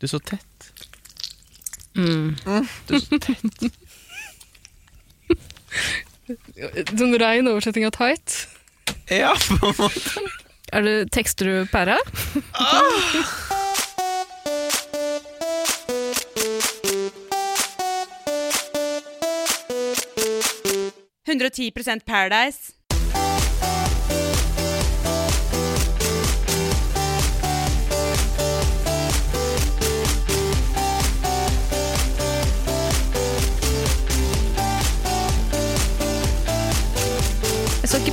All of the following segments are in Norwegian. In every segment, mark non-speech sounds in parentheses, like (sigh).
Du er så tett. Du er så tett. Sånn rein oversetting av tight. Ja, på en måte. Er det, tekster du pæra? Paradise. Jeg skal ikke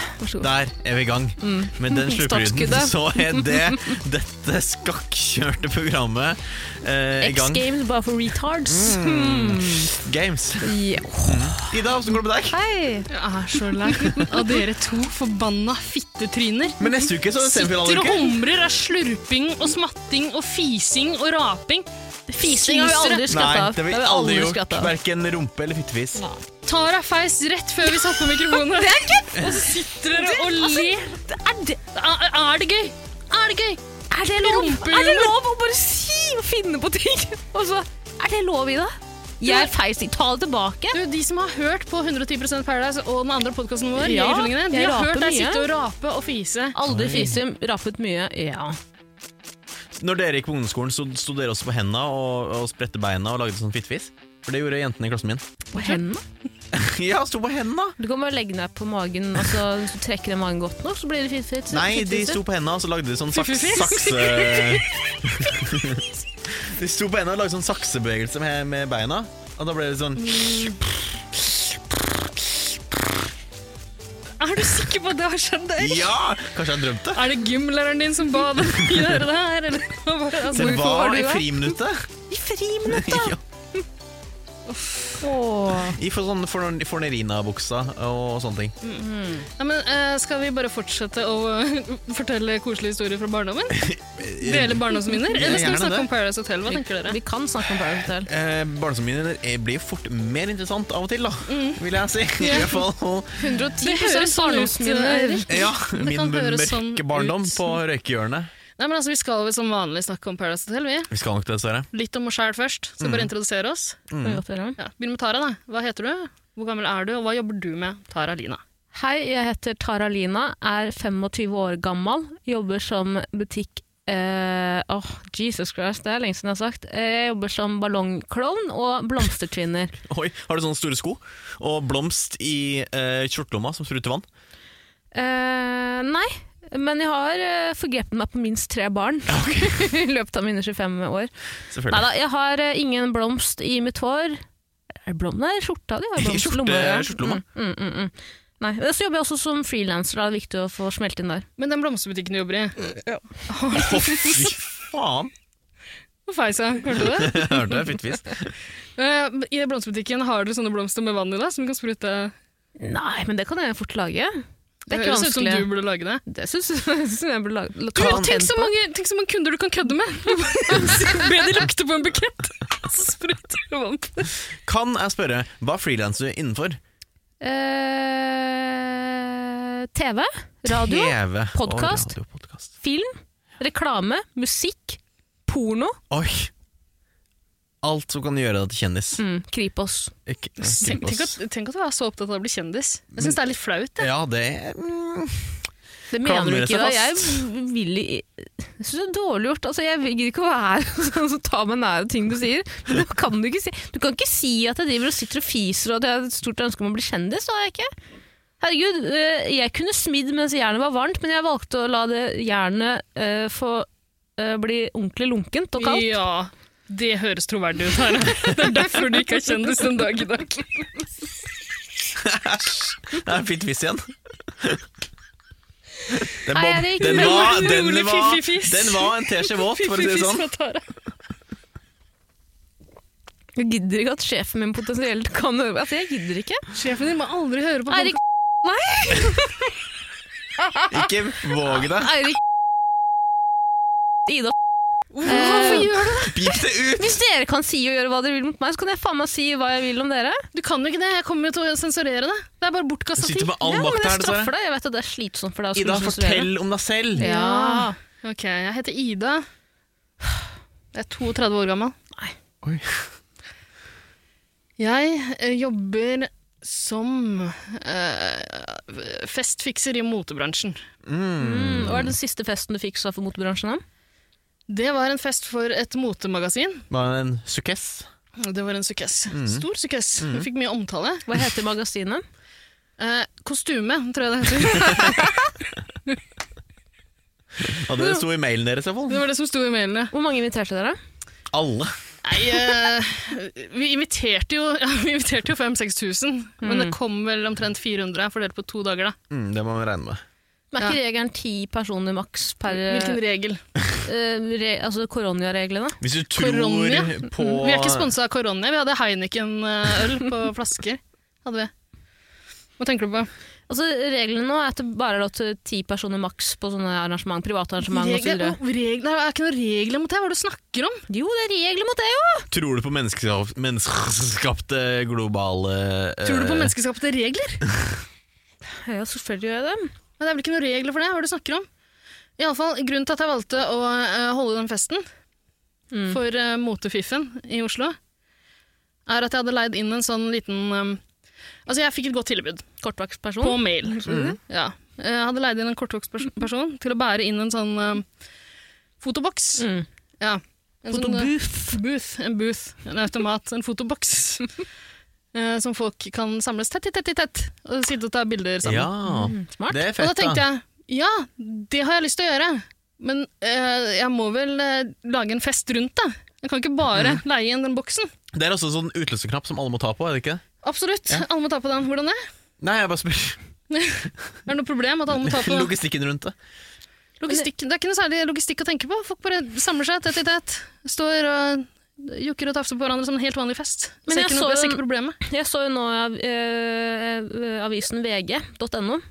Vær så god. Mm. Der er vi i gang. Med den slurpelyden Startskuddet. (laughs) så er det dette skakkjørte programmet eh, i X gang. Mm. Games bare for retards. Hmm. Games. Mm. Ja. Ida, hvordan går det med deg? Hei! Jeg er så lei av dere to forbanna fittetryner. Men neste uke så er det Sitter og semifinaleuke. humrer av slurping og smatting og fising og raping. Fising har Fisere. vi aldri Nei, skratta av. det har vi har aldri gjort. skrattet av. Verken rumpe eller fittefis. Tara feis rett før vi satte på mikrofonen. det er Og så sitter dere og ler. Er det, Er, er det gøy? Er det gøy? er det lov? Rumpehulen. Er det lov å bare si og finne på ting? (laughs) Og så, er det lov, Ida? Jeg feis ikke. Ta det tilbake. Du, De som har hørt på 110 Paradise og den andre podkasten vår, Ja, Jegertvillingene, de jeg har raper hørt deg mye. sitte og rape og fise. Aldri fisum, rappet mye. Ja. Når dere gikk på ungdomsskolen, så sto dere også på hendene og, og spredte beina og lagde sånn fittefis? For det gjorde jentene i klassen min. (laughs) På hendene. ja, sto på hendene! Du kan bare legge deg på magen, og så hvis du trekker den magen godt nok, så blir det fint. fint- Nei, fint- de fint- sto på hendene og så lagde de sånn saks, Fiffefis. sakse... (laughs) de sto på hendene og lagde sånn saksebevegelse med, med beina, og da ble det sånn Er du sikker på at det har skjedd deg? Ja! Kanskje jeg drømte? Er det gymlæreren din som ba deg gjøre det her? Eller? hva var det? Altså, Det hvorfor var du i her? friminuttet. I friminuttet! (laughs) ja, Åh. I for sånn forn- fornerina-buksa og sånne ting. Mm. Nei, men, eh, skal vi bare fortsette å (laughs) eh, fortelle koselige historier fra barndommen? Dele barndomsminner? Ja, Eller gjerne skal vi snakke det. om Paradise Hotel? Hva tenker dere? Vi kan snakke om Paradise Hotel. Eh, Barndomsminner eh, blir jo fort mer interessant av og til, da, vil jeg si. I hvert fall. 110 sånn barndomsminner. (laughs) Ja, min kan høres mørke sånn ut. barndom på røykehjørnet. Nei, men altså, Vi skal vel som vanlig snakke om Paradise Hotel. vi. Vi skal nok det, dessverre. Litt om oss sjæl først. Skal Mm. bare introdusere oss. Ja, Begynn med Tara. da. Hva heter du? Hvor gammel er du, og hva jobber du med? Tara Lina. Hei, jeg heter Tara Lina, er 25 år gammel, jobber som butikk eh, Åh, Jesus Christ, det er lenge siden jeg har sagt. Eh, Jeg jobber som ballongklovn og blomstertvinner. Oi, har du sånne store sko og blomst i eh, skjortelomma som spruter vann? Eh, nei, men jeg har eh, forgrepet meg på minst tre barn (laughs) i løpet av mine 25 år. Nei Selvfølgelig. da, jeg har eh, ingen blomst i mitt hår. Er det blom? Nei, skjorta di har I blomst. (laughs) i skjorte- lomma. skjortelomma. Mm, mm, mm, mm. Nei, og Så jobber jeg også som frilanser, det er viktig å få smelt inn der. Men den blomsterbutikken du jobber i, Å, fy (laughs) faen! (laughs) hvor feis jeg? Hørte du det? Jeg hørte det, fittefis. (laughs) Eh, I blomsterbutikken har dere sånne blomster med vann i, da, som kan sprute Nei, men det kan jeg fort lage. Det er ikke høres ut som vanskelig. du burde lage det. Det syns syns (laughs) jeg burde lage. Du, ta tenk, patent så på. mange, tenk så mange kunder du kan kødde med! Du bare Be de lukte på en bukett, (laughs) så spruter du vann på det. Kan jeg spørre, hva frilanser du innenfor? (laughs) Eh, TV, radio, TV. podcast. Og radio, podcast. film, reklame, musikk, porno. Oi! Alt som kan gjøre deg til kjendis. Mm, Kripos. Ikke- Tenk, tenk, at, tenk at du er så opptatt av å bli kjendis. Jeg syns det er litt flaut. jeg. Ja, det er mm, Det mener du Klamrer ikke, seg da. Jeg fast. vil i- Jeg syns det er dårlig gjort. Altså, jeg gidder ikke å (laughs) være sånn som tar meg nær ting du sier. Men da kan du, ikke si. du kan ikke si at jeg driver og sitter og fiser og at jeg har et stort ønske om å bli kjendis. Det har jeg ikke. Herregud, eh, jeg kunne smidd mens jernet var varmt, men jeg valgte å la det jernet eh, få eh, bli ordentlig lunkent og kaldt. Ja, det høres troverdig ut her. Det er derfor du ikke er kjendis den dag i dag. Det er fittefis igjen. Den Hei, var, Erik. den var, den Rolig var, fiffifis. den var en teskje våt, (laughs) for å si det sånn. Jeg gidder ikke at sjefen min potensielt kan øve. Altså, jeg gidder ikke. Sjefen din må aldri høre på Eirik (laughs) Ikke våg deg. Eirik Ida Hvorfor gjør du det? Pip det ut! Hvis dere kan si og gjøre hva dere vil mot meg, så kan jeg faen meg si hva jeg vil om dere. Eh, Du kan jo ikke det. Jeg kommer jo til å sensurere det. Det er bare Du bortkasta tid. sitter med all ja, men makt jeg her, dessverre. straffer deg. Jeg vet at det er slitsomt for deg altså, å Ida, skulle sensurere. fortell om deg selv! Ja. Ok, jeg heter Ida. Jeg er 32 år gammel. Oi. Jeg eh, jobber som eh, festfikser i motebransjen. Mm. Hva er den siste festen du fiksa for motebransjen? da? Det var en fest for et motemagasin. Var det en sukkess? Det var en sukess. Mhm. Stor sukess. Vi fikk mye omtale. Hva heter magasinet? Eh, kostyme, tror jeg det heter. (laughs) Ja, det sto i mailen deres, i hvert Det fall. var det som sto i mailene. Hvor mange inviterte dere? Alle. Nei, eh, vi inviterte jo, (laughs) ja, vi inviterte jo 5000-6000, men det kom vel omtrent 400 fordelt på to dager. da. Mm, det må man regne med. Men er ikke regelen ti personer maks per Hvilken regel? eh, re, altså koronareglene? Hvis du tror Koronia? på Mm, Vi er ikke sponsa av Koronia. Vi hadde Heineken-øl på flasker. Hadde vi. Hva tenker du på? Altså Reglene nå er at det bare er lov til ti personer maks på sånne arrangement, private arrangement Regler, osv. oh, regler, det er ikke noen regler mot det. Hva er det du snakker om? Jo, det er regler mot det, jo! Tror du på menneskeskap- menneskeskapte globale eh, Tror du på menneskeskapte regler? Ja, selvfølgelig gjør jeg det. Men det er vel ikke noen regler for det? Hva er det du snakker om? I alle fall, Grunnen til at jeg valgte å eh, holde den festen Mm. for eh, motefiffen i Oslo, er at jeg hadde leid inn en sånn liten eh, Altså, jeg fikk et godt tilbud. På Kortvaktsperson. mail. Ja. Jeg hadde leid inn en kortvokstperson til å bære inn en sånn eh, fotoboks. Mm. Ja. En sånn, eh, Fotobooth. booth. En booth. En automat. En fotoboks. (laughs) Eh, som folk kan samles tett i tett i tett og sitte og ta bilder sammen. Ja, Mm, smart. det er og da fett, tenkte da. jeg ja, det har jeg lyst til å gjøre, men eh, jeg må vel eh, lage en fest rundt det. Jeg kan ikke bare Mm. leie inn den boksen. Det er også en sånn utløserknapp som alle må ta på, er det ikke? Absolutt. Alle må ta på den. Hvordan det? Nei, jeg bare spør. Er det noe problem at (laughs) alle må ta på den? Logistikken rundt det. Logistikk, det er ikke noe særlig logistikk å tenke på. Folk bare samler seg tett i tett. Står og jokker og tafser på hverandre som en helt vanlig fest. Men Men jeg jeg ser ikke, så noe, jeg ser en- ikke problemet. Jeg så jo nå i av- eh, eh, avisen vg.no,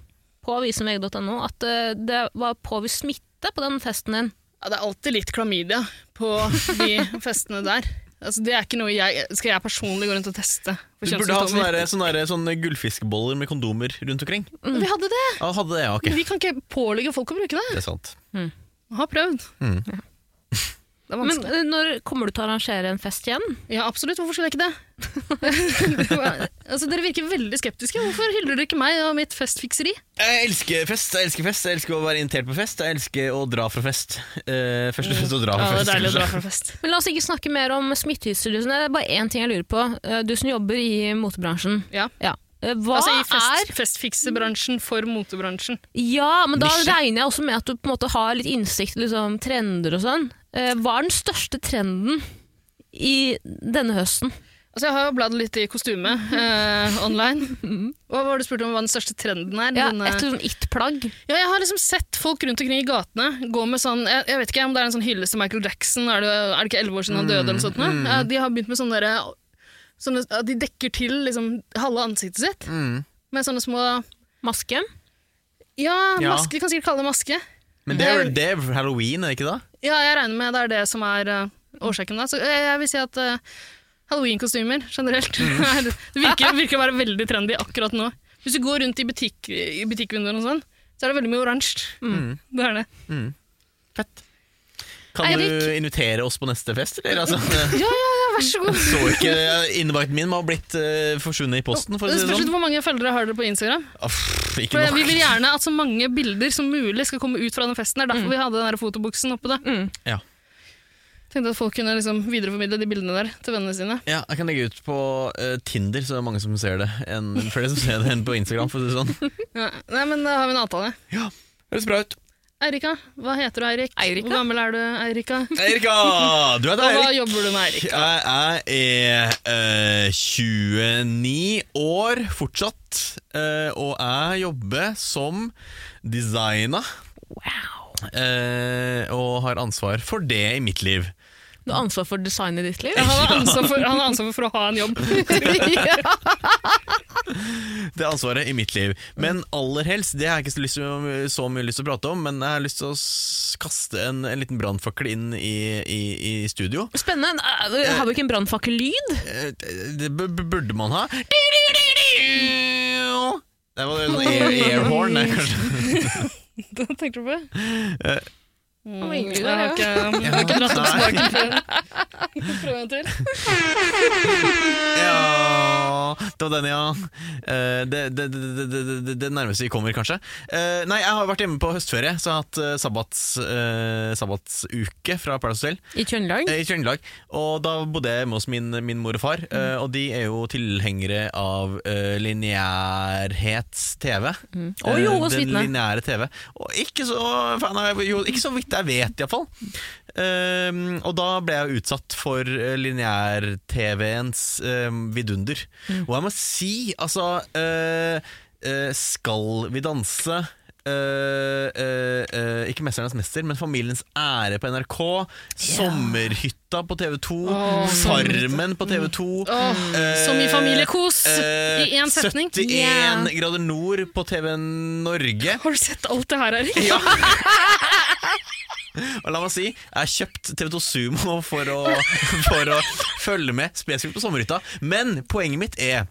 på avisen vg.no, at eh, det var påvist smitte på den festen din. Ja, det er alltid litt klamydia på de (laughs) festene der. Altså, det er ikke noe jeg, skal jeg personlig gå rundt og teste for Du burde sånn ha sånne, kjønnssymptomer. der, sånne, der, sånne gullfiskeboller med kondomer rundt omkring. Mm. Vi hadde det! Ja, hadde det, ja, ok. Men vi kan ikke pålegge folk å bruke det. Det er sant. Har prøvd. Mm. (laughs) Det er Men vanskelig. eh, når kommer du til å arrangere en fest igjen? Ja, absolutt. Hvorfor skulle jeg ikke det? (laughs) det var, altså, dere virker veldig skeptiske. Hvorfor hyller dere ikke meg og mitt festfikseri? Jeg elsker fest, jeg elsker fest, jeg elsker å være invitert på fest, jeg elsker å dra fra fest. Eh, først og Mm. fremst å dra fra fest. (laughs) kanskje. fra fest. Men La oss ikke snakke mer om smittehyster. Dusen. Det er bare én ting jeg lurer på. Eh, Du som jobber i motebransjen. Ja. Ja. Eh, Hva altså i er fest, festfiksebransjen for motebransjen. Ja, men da Nisje. regner jeg også med at du på en måte har litt innsikt i liksom, trender og sånn. Eh, Hva er den største trenden i denne høsten? Altså Jeg har jo bladd litt i kostyme eh, (laughs) online. Hva var det du spurte om hva den største trenden er? Ja, Denne- et sånn it-plagg. ja, jeg har liksom sett folk rundt omkring i gatene gå med sånn Jeg, jeg vet ikke om det er en sånn hyllest til Michael Jackson, er det, er det ikke elleve år siden han døde? eller sånt, noe? Ja, de har begynt med sånne derre sånne, at De dekker til liksom, halve ansiktet sitt Mm. med sånne små Maske. Ja, Ja. maske, de kan sikkert kalle det maske. Men det er, det er halloween, er det ikke da? Ja, jeg regner med det er det som er eh, årsaken. Da. Så jeg, jeg vil si at eh, Halloween-kostymer generelt (laughs) er- Det virker, virker å være veldig trendy akkurat nå. Hvis du går rundt i, butikk, i butikkvinduer og sånn, så er det veldig mye oransje. Det er det. Fett. Kan du Eirik. invitere oss på neste fest, eller? Altså, jeg Ja, ja, ja, vær (laughs) så god. så ikke Innvakten min må ha blitt eh, forsvunnet i posten, for å Det si det spørs sånn. litt hvor mange følgere har dere på Instagram. Aff, ikke For Vi vil nok. gjerne at så mange bilder som mulig skal komme ut fra den festen. Det er derfor vi hadde den der fotobuksen oppe. Da. Ja. Tenkte at folk kunne liksom videreformidle de bildene der til vennene sine. Ja, jeg kan legge ut på eh, Tinder, så det er mange som ser det. En, flere som ser det enn på Instagram, for å si det sånn. Ja. Nei, men da har vi en avtale. Ja, Høres bra ut. Eirika, hva heter du, Eirik? Eirika? Hvor gammel er du, (laughs) Eirika? Eirika! Du heter Og hva Eirik. jobber du med, (laughs) Eirik? Jeg er eh, 29 år fortsatt, eh, og jeg jobber som designer. Wow. eh, og har ansvar for det i mitt liv. Du har ansvar for design i ditt (laughs) liv? Han har ansvar for, han har ansvar for å ha en jobb. ja. det ansvaret i mitt liv. Men aller helst, det har jeg ikke så, lyst til, så mye lyst til å prate om, men jeg har lyst til å s- kaste en, en liten brannfakkel inn i, i, i studio. Spennende. Eh, Har vi ikke en brannfakkellyd? Eh, Det b b burde man ha. Det var sånn (laughs) air, airhorn, nei, kanskje. Hva tenkte du på? Eh. Mm, jeg (laughs) har ikke, jeg har ikke dratt opp Nei. spaken før. Prøv en til. Ja, det var den, ja. Eh, Det, det, det, det, det, det nærmeste vi kommer, kanskje. Eh, Nei, jeg har vært hjemme på høstferie, så jeg har hatt eh, sabbats, eh, sabbatsuke fra Paradise Hotel. I Trøndelag? Eh, I Trøndelag. Og da bodde jeg hjemme hos min, min mor og far, eh, Mm. og de er jo tilhengere av uh, lineærhets-TV. Mm. Å jo, Eh, og Den svitne. lineære TV. Og ikke så, fan av, jo, ikke så vidt jeg vet, iallfall. Um, og da ble jeg jo utsatt for eh, lineær-TV-ens um, vidunder. Mm. Og jeg må si, altså eh, eh, Skal vi danse? eh, eh, eh, ikke 'Mesternes mester', men 'Familiens ære' på NRK. Sommerhytta på TV2. Åh, Mm. Farmen på TV2. Åh, så mye familiekos Eh, i én setning. 71 Ja. grader nord på TV Norge. Har du sett alt det her, Erik? Ja. (laughs) Og la meg si, jeg har kjøpt TV2 Sumo for å, for å følge med spesifikt på sommerhytta. Men poenget mitt er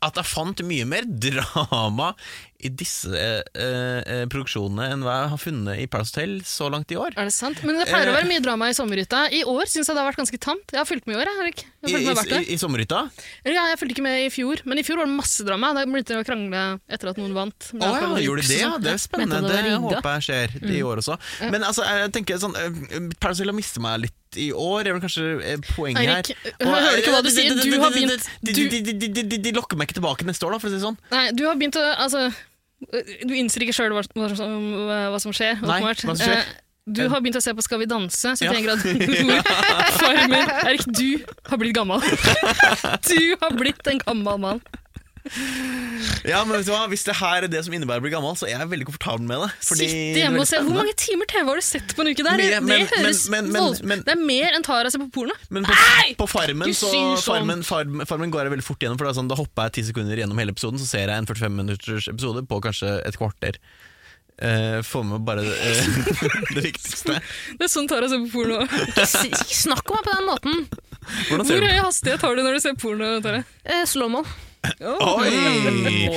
at jeg fant mye mer drama i disse eh, eh, produksjonene enn hva jeg har funnet i Paradise Hotel så langt i år. Er det sant? Men det pleier å være mye drama i sommerhytta. I år syns jeg det har vært ganske tamt. Jeg har fulgt med i år, jeg, Erik. Jeg I, har fulgt i, med hvert i, år. i sommerhytta? Eller, ja, jeg fulgte ikke med i fjor, men i fjor var det masse drama. Da begynte de å krangle etter at noen vant. Å ja, gjorde de det? Ja, det er spennende. Det, Mente det var rigga. håper jeg skjer i år også. Men altså, jeg tenker sånn eh, Paradise Hotel har mistet meg litt i år, er vel kanskje eh, poenget her. Eirik, hører du ikke hva du sier? Du har begynt De, du, de, de, de, de, de, de lokker meg ikke tilbake neste år, da, for å si det sånn. Nei, du har begynt å Altså, du innser ikke sjøl hva, hva, som- hva som skjer, Nei, åpenbart. hva som skjer. Eh, Du har begynt å se på Skal vi danse, Ja. 71 (laughs) grader nord, Farmen. Erik, du har blitt gammel. (laughs) Du har blitt en gammel mann. Ja, men vet du hva? Hvis det her er det som innebærer å bli gammel, så er jeg veldig komfortabel med det. fordi Sitte det er hjemme veldig og se. Hvor spennende. mange timer TV har du sett på en uke der? Mye, men- det høres men- men- men- voldsomt- men- Det er mer enn Tara ser på porno. Men på, på farmen, Du så, syr sånn. farmen, farmen, farmen går jeg veldig fort gjennom, for det er sånn, da hopper jeg ti sekunder gjennom hele episoden, så ser jeg en 45 minutters episode på kanskje et kvarter. Uh, Få med bare eh, (laughs) det viktigste. Det er sånn Tara ser på (laughs) porno. Ikke s- ikke snakk om meg på den måten! Hvordan Hvor ser du? høy hastighet har du når du ser porno, Tara? Eh, Slowmo. Oi!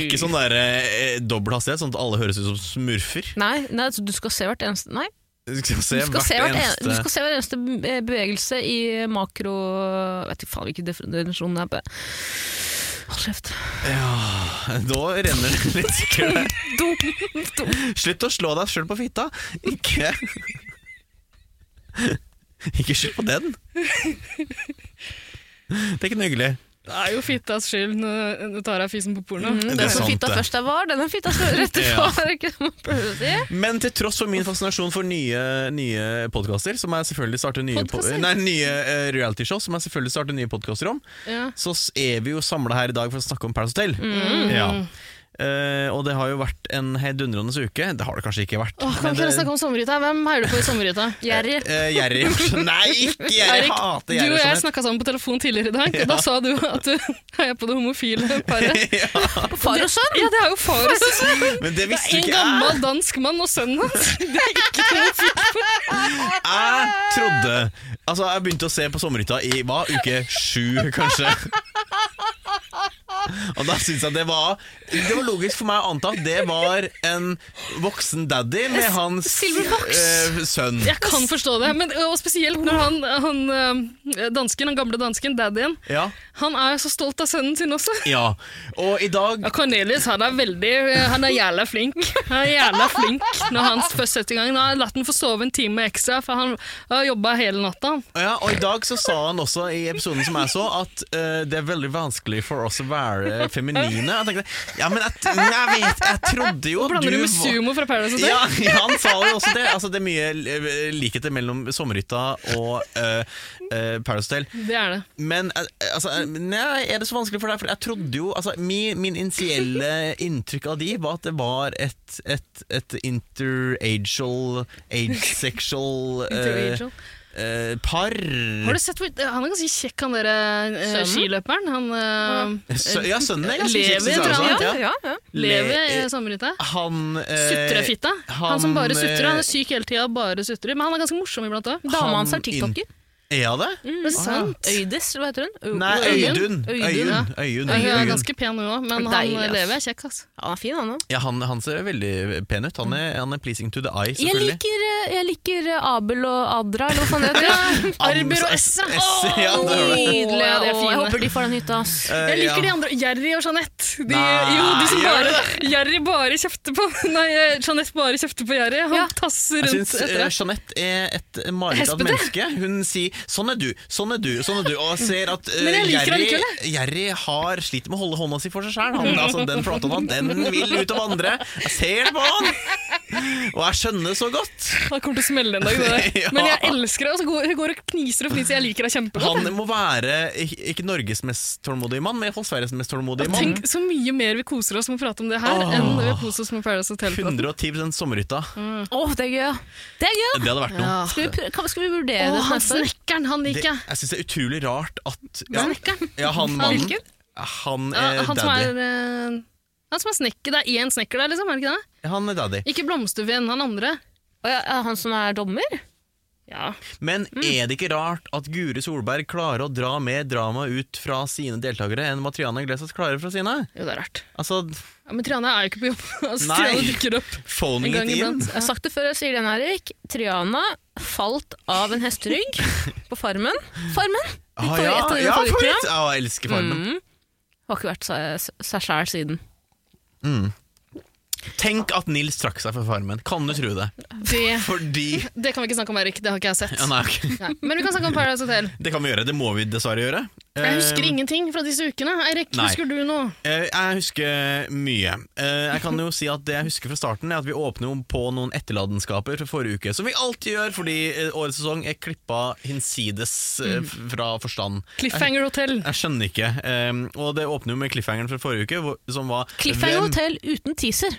Ikke sånn der eh, dobbel hastighet, sånn at alle høres ut som smurfer. Nei, nei, altså, du skal se hvert eneste Nei, Du skal se du skal, hvert se hvert en, du eneste skal se hver eneste be- bevegelse i makro... Jeg vet ikke faen hvilken definisjon det er på. Hold kjeft. Ja, da renner det litt sikkert. Dum. Slutt å slå deg sjøl på fitta. Ikke Ikke skyld på den. Det er ikke noe hyggelig. Det er jo fittas skyld når når Tara er fisen på porno. er Den som sant, fitta det. først der var, den er fitta så rett (laughs) Ja. ifra. er det ikke det man pleier å si? Men til tross for min fascinasjon for nye, nye podkaster, som jeg selvfølgelig starter nye, po Podcaster? nei, nye eh, realityshow, som jeg selvfølgelig starter nye podkaster om, Ja. så s- er vi jo samla her i dag for å snakke om Paradise Hotel. Mm. Ja. Eh, og det har jo vært en heidundrende uke. Det har det kanskje ikke vært. Åh, kan men eh, vi ikke det- snakke om sommerhytta? Hvem heier du på i sommerhytta? (laughs) Gjerrig. Eh, (laughs) Gjerrig. Nei, ikke gjerrig. Erik, Jeg hater du gjerrig. og (laughs) jeg sånn. snakka sammen på telefon tidligere i dag. og Da sa du at du (laughs) heier på det homofile (laughs) paret. På far og sønn! Ja, det er jo far og sønn. Men det visste En ikke jeg. gammel dansk mann og sønnen hans. Jeg trodde Altså, jeg begynte å se på Sommerhytta i hva? Uke sju, kanskje. Og da syns jeg det var Det var logisk for meg å anta at det var en voksen daddy med hans Silverfox. eh, sønn. Jeg kan forstå det, men og spesielt når han, han eh, dansken, han gamle dansken, daddyen, Ja. han er jo så stolt av sønnen sin også. ja. Og i dag Ja, Cornelius han er veldig Han er jævla flink. Han er jævla flink når han først setter i gang. Nå har jeg latt han få sove en time ekstra, for han har jobba hele natta. han. Ja, og i dag så sa han også i episoden som jeg så, at eh, det er veldig vanskelig for oss å være feminine. Jeg tenkte, ja, men jeg, men jeg vet, jeg trodde jo Blander du med var- sumo fra Paradise Hotel? Ja, han sa jo også det. Altså, det er mye eh, likheter mellom Sommerhytta og uh, Paradise Hotel. Det er det. Men eh, altså, eh, nei, er det så vanskelig for deg? For jeg trodde jo altså, Min, min initielle inntrykk av de var at det var et, et, et interagial Age-sexual eh, Interracial. eh, par Har du sett, hvor- eh, Han er ganske kjekk, han der eh, Sønnen? skiløperen. Han eh, Sø, Ja, sønnen er ganske Levi, kjekk. synes jeg tror også, jeg. sant? ja, ja. lever i Le- eh, samme rytte. Han eh, Sutrefitta. Han, han, som bare sutrer. Han eh, er syk hele tida, bare sutrer. Men han er ganske morsom iblant òg. Han Dama hans er tiktoker. Er han det? Er det sant? Øydes, hva heter hun? Ø- Nei, Øydun. Øyunn. Øyunn. ja. Øyunn. Hun er Øyunn. ganske pen, hun òg, men Deilig, han ass. lever er kjekk, altså. Han er fin, han òg. Ja, han, han ser veldig pen ut. Han er, han er pleasing to the eye, Jeg selvfølgelig. liker, eh, jeg liker eh, Abel og Adra, eller hva faen det heter. (laughs) Arber og Ams- Esra! Esra, (laughs) ja, Åh, det er det. Nydelig, ja, de er Åh, fine. Jeg håper de får den hytta, ass. Eh, Jeg liker ja. de andre. Jerry og Jeanette. De, Nei, jo, de som gjør bare, Jerry bare kjefter på Nei, eh, Jeanette bare kjefter på Jerry. Han Ja. tasser Jeg rundt syns etter eh, det. Jeanette er et mareritt av et menneske. Hun sier 'sånn er du, sånn er du', sånn er du og ser at eh, Men jeg liker Jerry, henne Jerry har sliter med å holde hånda si for seg sjæl. Altså, den flatånda den vil ut og vandre. Jeg ser det på han! Og jeg skjønner så godt. Han kommer til å (laughs) smelle en dag. Det der. Ja. Men jeg elsker det. Altså, går- hun går og kniser og fniser. Jeg liker henne kjempegodt. Han må være ik- ikke Norges mest tålmodige mann, men iallfall Sveriges mest tålmodige mann. Tenk så mye mer vi koser oss med å prate om det her Åh. enn vi koser oss med Paradise Hotel. 110 sommerhytta. Mm. Åh, det er gøy. ja. Det er gøy. da. Det hadde vært noe. Ja. Skal vi, prø- kan- skal vi vurdere Å, det han neste år? snekkeren, han Det, liker jeg. jeg syns det er utrolig rart at ja, Snekkeren. ja, han Han- mannen Han Ja, er han som daddy. er eh, han som er snekker, Det er én snekker der, liksom? er det Ikke det? Han er daddy. Ikke blomsterveen, han andre. Å, ja, ja, han som er dommer? Ja, Men Mm. er det ikke rart at Guri Solberg klarer å dra mer drama ut fra sine deltakere enn Matriana Iglesias klarer fra sine? Jo, det er rart. Altså, Ja, men Triana er jo ikke på jobb. (laughs) Altså, Nei. Triana dukker opp en phoning gang it in. iblant. Jeg har sagt det før, jeg sier det igjen, Erik. Triana falt av en (laughs) hesterygg på Farmen. Farmen! Ah, Favoritt- ja, et av dine ja, favorittprogram. favoritt! Ja, Ah, jeg elsker Farmen. Mm. Har ikke vært seg- seg sjæl siden. Tenk at Nils trakk seg for Farmen. Kan du tro det? Det, Fordi (laughs) det kan vi ikke snakke om, Erik. Det har ikke jeg sett. ja, nei, ok. Nei. Men vi kan snakke om Paradise Hotel. Det kan vi gjøre. Det må vi dessverre gjøre. Jeg husker Eh, ingenting fra disse ukene. Eirik, Nei. husker du noe? Eh, Jeg husker mye. Eh, Jeg kan jo si at Det jeg husker fra starten, er at vi åpner om på noen etterladenskaper fra forrige uke. Som vi alltid gjør, fordi eh, årets sesong er klippa hinsides eh, Mm. f- fra forstand. Jeg, Cliffhanger Hotel. jeg skjønner ikke. Eh, Og det åpner jo med cliffhangeren fra forrige uke, hvor- som var Cliffhanger hvem- Hotel uten teaser.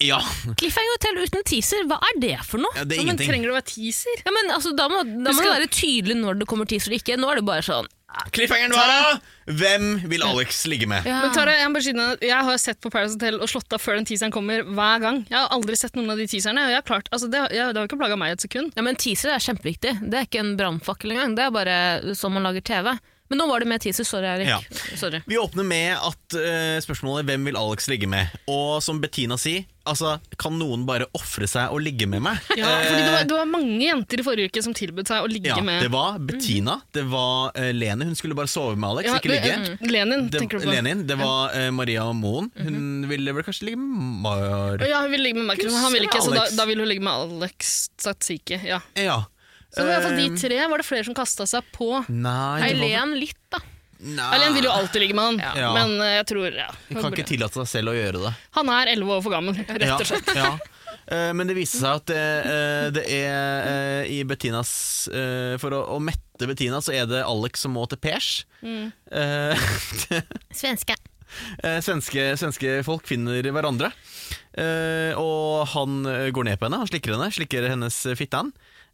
Ja, Cliffhanger Hotel uten teaser, hva er det for noe? ja, det er Ja, men ingenting. trenger det å være teaser? Ja, men altså, Da må, da må Husker- det være tydelig når det kommer teaser og ikke. Nå er det bare sånn Cliffhangeren var Hvem vil Alex ligge med? ja. Men Tara, jeg, må bare si deg at jeg har sett på Paradise Hotel og slått av før den teaseren kommer hver gang. Jeg har aldri sett noen av de teaserne. Og jeg har klart, altså, det, har- jeg, det har ikke plaga meg et sekund. Ja, men Teaser er kjempeviktig. Det er ikke en brannfakkel engang. Det er bare sånn man lager TV. Men nå var det mer teaser. Sorry, Erik. Ja. Sorry. Vi åpner med at eh, spørsmålet 'Hvem vil Alex ligge med?' Og som Bettina sier, altså, kan noen bare ofre seg og ligge med meg? Ja, fordi det var, det var mange jenter i forrige uke som tilbød seg å ligge Eh, Ja, med Mm. det var Bettina, det var eh, Lene, hun skulle bare sove med Alex, Ja, ikke ligge. det- Lenin, Det, tenker du på. Mhm. Lenin, det var eh, Maria Moen, hun ville vel kanskje ligge med Mar... Ja, hun ville ligge med Markus, men han ville ikke, så da, Alex. da ville hun ligge med Alex Tsatsiki. Ja. Ja. Så det var i hvert fall Eh, de tre. Var det flere som kasta seg på? Nei, det var... Eileen litt, da. Nei. Eileen vil jo alltid ligge med han, Ja. men eh, jeg tror ja. Hun kan ikke tillate seg selv å gjøre det. Han er elleve år for gammel, rett og slett. Ja, ja. Eh, Men det viste seg at eh, eh, det er eh, i Bettinas eh, For å, å mette Bettina, så er det Alex som må til pers. Mm. Eh, (laughs) Svenske. Eh, svenske, svenske folk finner hverandre. Eh, og han eh, går ned på henne, han slikker henne, slikker hennes eh, fitte. han.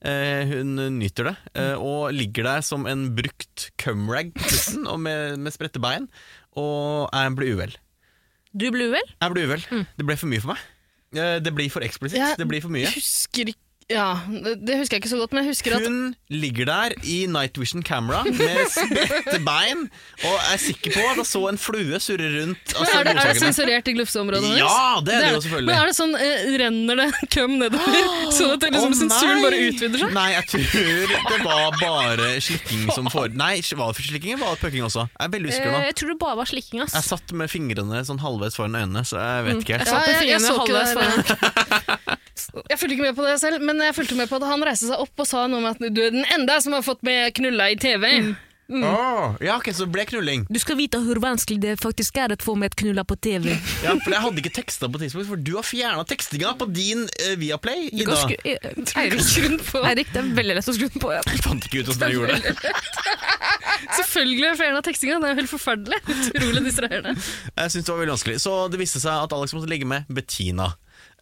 Eh, hun nyter det, eh, Mm. og ligger der som en brukt cumrag nesten, og med, med spredte bein. Og jeg blir uvel. Du blir uvel? Jeg blir uvel. Det ble for mye for meg. Eh, det blir for eksplisitt. Mm. Ja. Det blir for mye. Jeg husker ikke ja, Det husker jeg ikke så godt, men jeg husker at Hun ligger der i night vision camera med spredte bein, og jeg er sikker på at jeg så en flue surre rundt. men altså, er, det, er det morsakene. sensurert i glufseområdet hennes? Ja, det er det jo det. selvfølgelig. Men er det sånn, eh, renner det (laughs) køm nedover, (gasps) sånn at det liksom, Å, sensuren bare nei! utvider seg? Nei, jeg tror det var bare (laughs) slikking som får Nei, var det for slikking eller var det pøkking også? Jeg er veldig usikker nå. Eh, jeg tror det bare var slikking, ass. Jeg satt med fingrene sånn halvveis foran øynene, så jeg vet ikke helt. Mm. Ja, Satt med jeg- jeg fingrene så ikke halvveis det foran. Jeg fulgte ikke med på det selv, men jeg fulgte med på at han reiste seg opp og sa noe om at du er den enda som har fått med knulla i TV. Åh, ja, ok, så det ble knulling. Du skal vite hvor vanskelig det faktisk er å få med et knulla på TV. Ja, for jeg hadde ikke teksta på tidspunkt, for du har fjerna tekstinga på din eh, Viaplay, Du Ida. kan skru- eh, Eirik, Grunn på. Eirik, det er veldig lett å skru den på. Ja. Jeg fant ikke ut åssen jeg gjorde det. Selvfølgelig er det flere av tekstingene. Det er jo helt forferdelig. Utrolig distraherende. Jeg synes det var veldig vanskelig Så det viste seg at Alex måtte ligge med Bettina.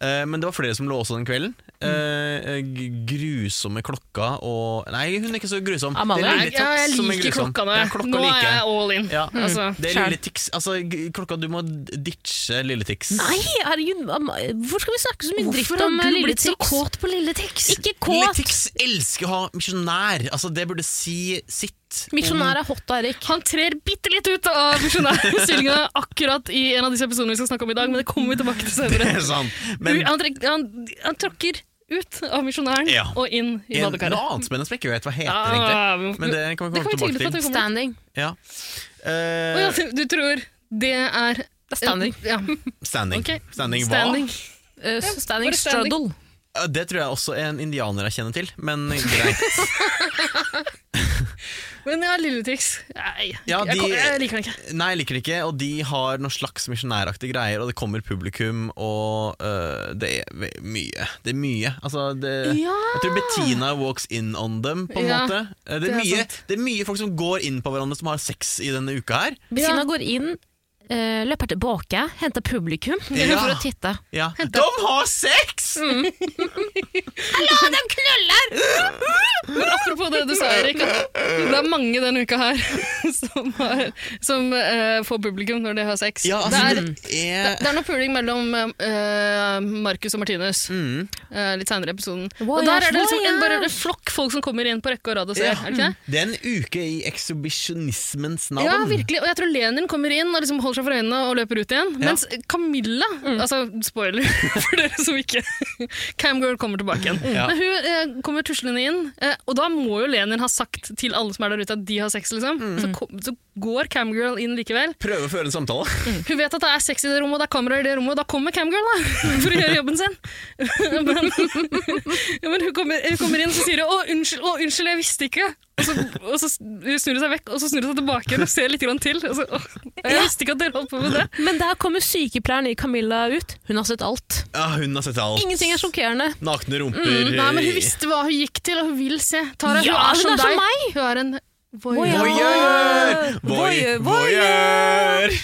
Eh, Men det var flere som lå også den kvelden. eh, g- grusomme klokka og Nei, hun er ikke så grusom. Amalie? Det er Lille Tox Jeg, jeg som sånn. er liker grusom. klokka nå. Ja, klokka nå er liker jeg jeg. all in. Ja. Altså, Det er Skjønn. Lille Tix. Altså, g- klokka du må ditche Lille Tix. Nei, herregud, am- hvorfor skal vi snakke så mye dritt Hvorfor har om eh, du Lille blitt så Tix? kåt på Lille Tix? Ikke Lille kåt! Tix elsker å ha misjonær. Altså, det burde si sitt. Misjonær er hot, Erik. Han trer bitte litt ut av misjonærstillingene (laughs) akkurat i en av disse episodene vi skal snakke om i dag, men det kommer vi tilbake (laughs) til Det senere. er sånn, sant. U- han, trek, han, han tråkker ut av misjonæren Ja. og inn i en, noe badekaret. annet spennende som jeg ikke vet hva heter, egentlig. Ja, vi må- Men det kan vi Det komme kan vi tygge tilbake på til. at det kommer. Standing. Ja. Å ja, Eh, du- du tror det er Det er standing. Ja, standing. ok. standing. Hva? Standing. Eh, standing bare standing. straddle. Ja, Det tror jeg også er en indianer jeg kjenner til, (laughs) men greit. Men ja, Lilletrix. Nei, Ja, jeg, de- kom- jeg liker den ikke. Nei, jeg liker det ikke, og de har noen slags misjonæraktige greier, og det kommer publikum, og øh, det er ve- mye. Det er mye. Altså, det, Ja. Jeg tror Bettina walks in on dem, på en Ja, måte. Eh, Det det er, er mye, sant. det er mye folk som går inn på hverandre som har sex i denne uka her. Bettina går inn, eh, løper tilbake, henter publikum Ja. (laughs) for å titte. Ja. De har sex! Mm. Ja, de knuller! Men apropos det du sa, Erik, at det er mange denne uka her (laughs) som, har, som eh, får publikum når de har sex. Ja, det, er, altså, det er det er noe puling mellom eh, Markus og Martinus Mm. eh, litt seinere i episoden. Voyage, og der er det liksom en, bare voyage. en flokk folk som kommer inn på rekke og rad og ser. Ja. Altså, Er det ikke det? Det er en uke i ekshibisjonismens navn. Ja, virkelig. Og jeg tror Lenin kommer inn og liksom holder seg for øynene og løper ut igjen. Mens Camilla Altså, spoiler (laughs) for dere som ikke (laughs) Camgirl kommer tilbake igjen. Ja. Men hun eh, kommer tuslende inn, eh, og da må jo Lenin ha sagt til alle som er der ute at de har sex, liksom. Så, kom, så går Camgirl inn likevel. Prøve å føre en samtale. Hun vet at det er sex i det rommet, og det er kamera i det rommet, og da kommer camgirl da, (laughs) for å gjøre jobben sin. (laughs) men ja, men hun, kommer, hun kommer inn og sier hun, 'Å, unnskyld, å, unnskyld, jeg visste ikke'. Og så, og så snur hun seg vekk, og så snur hun seg tilbake igjen og ser litt grann til. Og så, «Å, 'Jeg visste ikke at dere holdt på med det'. Men der kommer sykepleieren i Camilla ut. Hun har sett alt. Ja, hun har sett alt. Ingenting er sjokkerende. Nakne rumper. Mm, Nei, men hun visste hva hun gikk til, og hun vil se. Tara, Ja, hun er hun som er som deg. meg. Hun er en Voyeur. voyeur. Voyeur! Voyeur, Voy- Voyeur!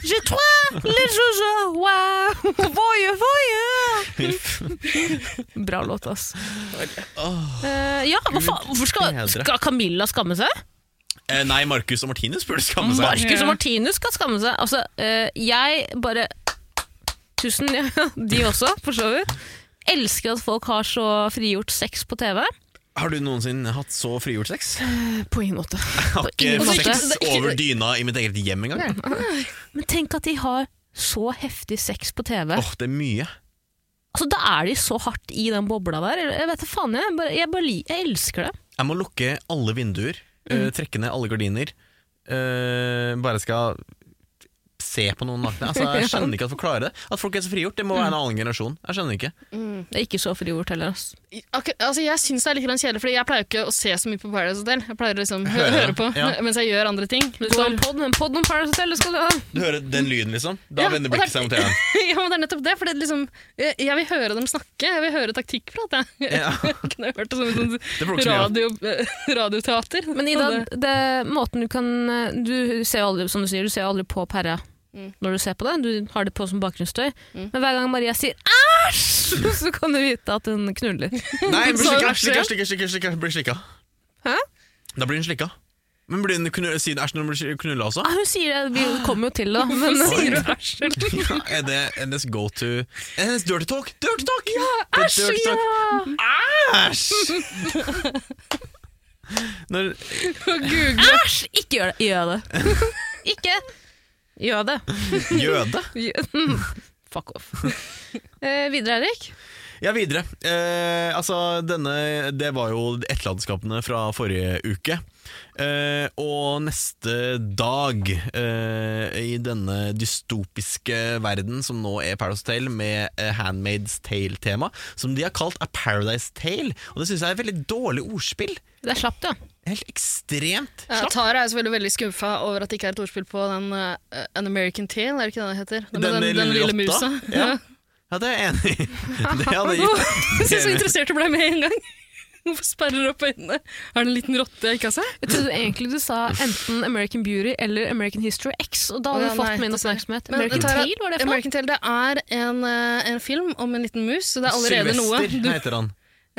Je trois, le jojo, wow, voie, voie. Bra låt, ass. Åh. Eh, ja, hva faen? Hvorfor skal, bedre. skal Camilla skamme seg? Eh, Nei, Markus og Martinus burde skamme seg. Marcus Ja. og Martinus skal skamme seg. Altså, eh, jeg bare Tusen, ja, (laughs) de også, for så vidt. Elsker at folk har så frigjort sex på TV. Har du noensinne hatt så frigjort sex? Jeg På ingen måte. har ingen ikke måte. sex Det er ikke- over dyna i mitt eget hjem engang. Åh, Men tenk at de har så heftig sex på TV. det er mye. Altså, da er de så hardt i den bobla der. Jeg vet da faen, jeg. Bare, jeg, bare, li- jeg elsker det. Jeg må lukke alle vinduer, Mm. eh, trekke ned alle gardiner. eh, bare skal se på noen nakne. Altså, (laughs) jeg skjønner ikke at folk klarer det. At folk er så frigjort, det må være en Mm. annen generasjon. Jeg skjønner ikke. Det er ikke så frigjort heller. ass. Akkur altså, jeg syns det er litt grann kjedelig, Fordi jeg pleier jo ikke å se så mye på Paradise Hotel. Jeg pleier å liksom hø Høre, høre på ja. mens jeg gjør andre ting. Du skal ha Liksom. en pod, en pod Sånn om Paradise Hotel, det skal du ha. Du hører den lyden, liksom? Da Ja, vender og blikket der- seg mot TV-en. (laughs) ja, men det er nettopp det. For det er liksom, jeg, jeg vil høre dem snakke. Jeg vil høre taktikkprat. Jeg. (laughs) Ja. jeg kunne hørt det som et sånt Det får du ikke så mye av. radio, eh, radioteater. Men Ida, Sånn det, måten du kan Du ser jo aldri, som du sier, du ser jo aldri på pæra når du ser på det. Du har det på som bakgrunnsstøy. Men hver gang Maria sier 'æsj', (laughs) så kan du vite at hun knuller. Nei, blir Sa hun slikka, det slikka, selv? slikka, slikka, slikka, blir slikka. Hæ? Da blir hun slikka. Men blir hun knu- sier hun æsj sånn når hun blir knulla også? Ah, hun sier det, vi kommer jo til det, da, men Sier du æsj, eller? Ja, (laughs) er det hennes go to Er det hennes dirty talk? Dirty talk! Det er Æsj, dirty talk. ja! Æsj! Når, Og Google Æsj! Ikke gjør det. Gjør det. (laughs) Ikke gjør det. jøde? (laughs) Gjør- Fuck off. Eh, videre, Erik. Ja, videre. Eh, altså, denne Det var jo etterlatenskapene fra forrige uke. Eh, og neste dag, eh, i denne dystopiske verden som nå er Paradise Tale, med eh, Handmaid's Tale-tema, som de har kalt A Paradise Tale. Og det syns jeg er et veldig dårlig ordspill. Det er slapt, ja. Helt ekstremt Ja, Tara er selvfølgelig veldig skuffa over at det ikke er et ordspill på den eh, An American Tale, er det ikke det det heter? Den, med den, den lille rotta? musa. (laughs) Ja. ja, det er jeg enig i. Det hadde Åh, gitt (laughs) Jeg er så interessert du ble med en gang. (laughs) Hvorfor sperrer du opp øynene? Er det en liten rotte jeg ikke har sett? Jeg trodde egentlig du sa enten American Beauty eller American History X, og da Å, hadde ja, du fått nei, min det ser jeg. oppmerksomhet. Men, American Tara, Tail, var det for noe? American Tail, det er en, eh, en film om en liten mus, så det er allerede Sylvester noe. Du, heter han.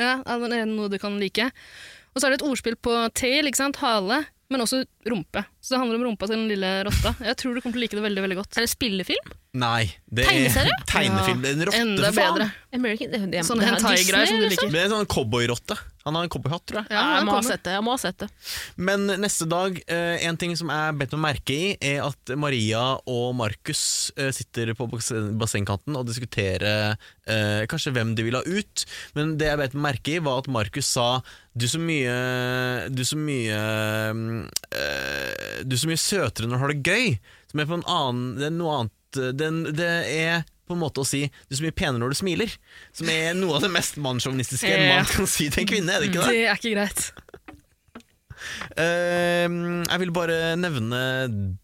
ja, allerede noe du kan like. Og så er det et ordspill på tail, ikke sant? hale, men også rumpe. Så det handler om rumpa til den lille rotta. Jeg tror du kommer til å like det veldig veldig godt. Er det en spillefilm? Nei. Det Tegneserie? (laughs) Tegnefilm. Det er en rotte, Enda for faen. bedre. American, det, det, Sånne det er hentai-greier som Disney, du liksom. liker. Det er en sånn cowboyrotte. Han har en cowboyhatt, tror jeg. Ja, jeg må ha kommer. sett det. jeg må ha sett det. Men neste dag, eh, en ting som jeg bet meg merke i, er at Maria og Markus eh, sitter på basse- bassengkanten og diskuterer eh, kanskje hvem de vil ha ut. Men det jeg bet meg merke i, var at Markus sa du så mye Du så mye mm, eh, Du så mye søtere når du har det gøy. Som er på en annen Det er noe annet eh, Det, det er på en måte å si du er så mye penere når du smiler. Som er noe av det mest mannssjåvinistiske en Ja. mann kan si til en kvinne. er det ikke det? Det er ikke greit. Eh, jeg vil bare nevne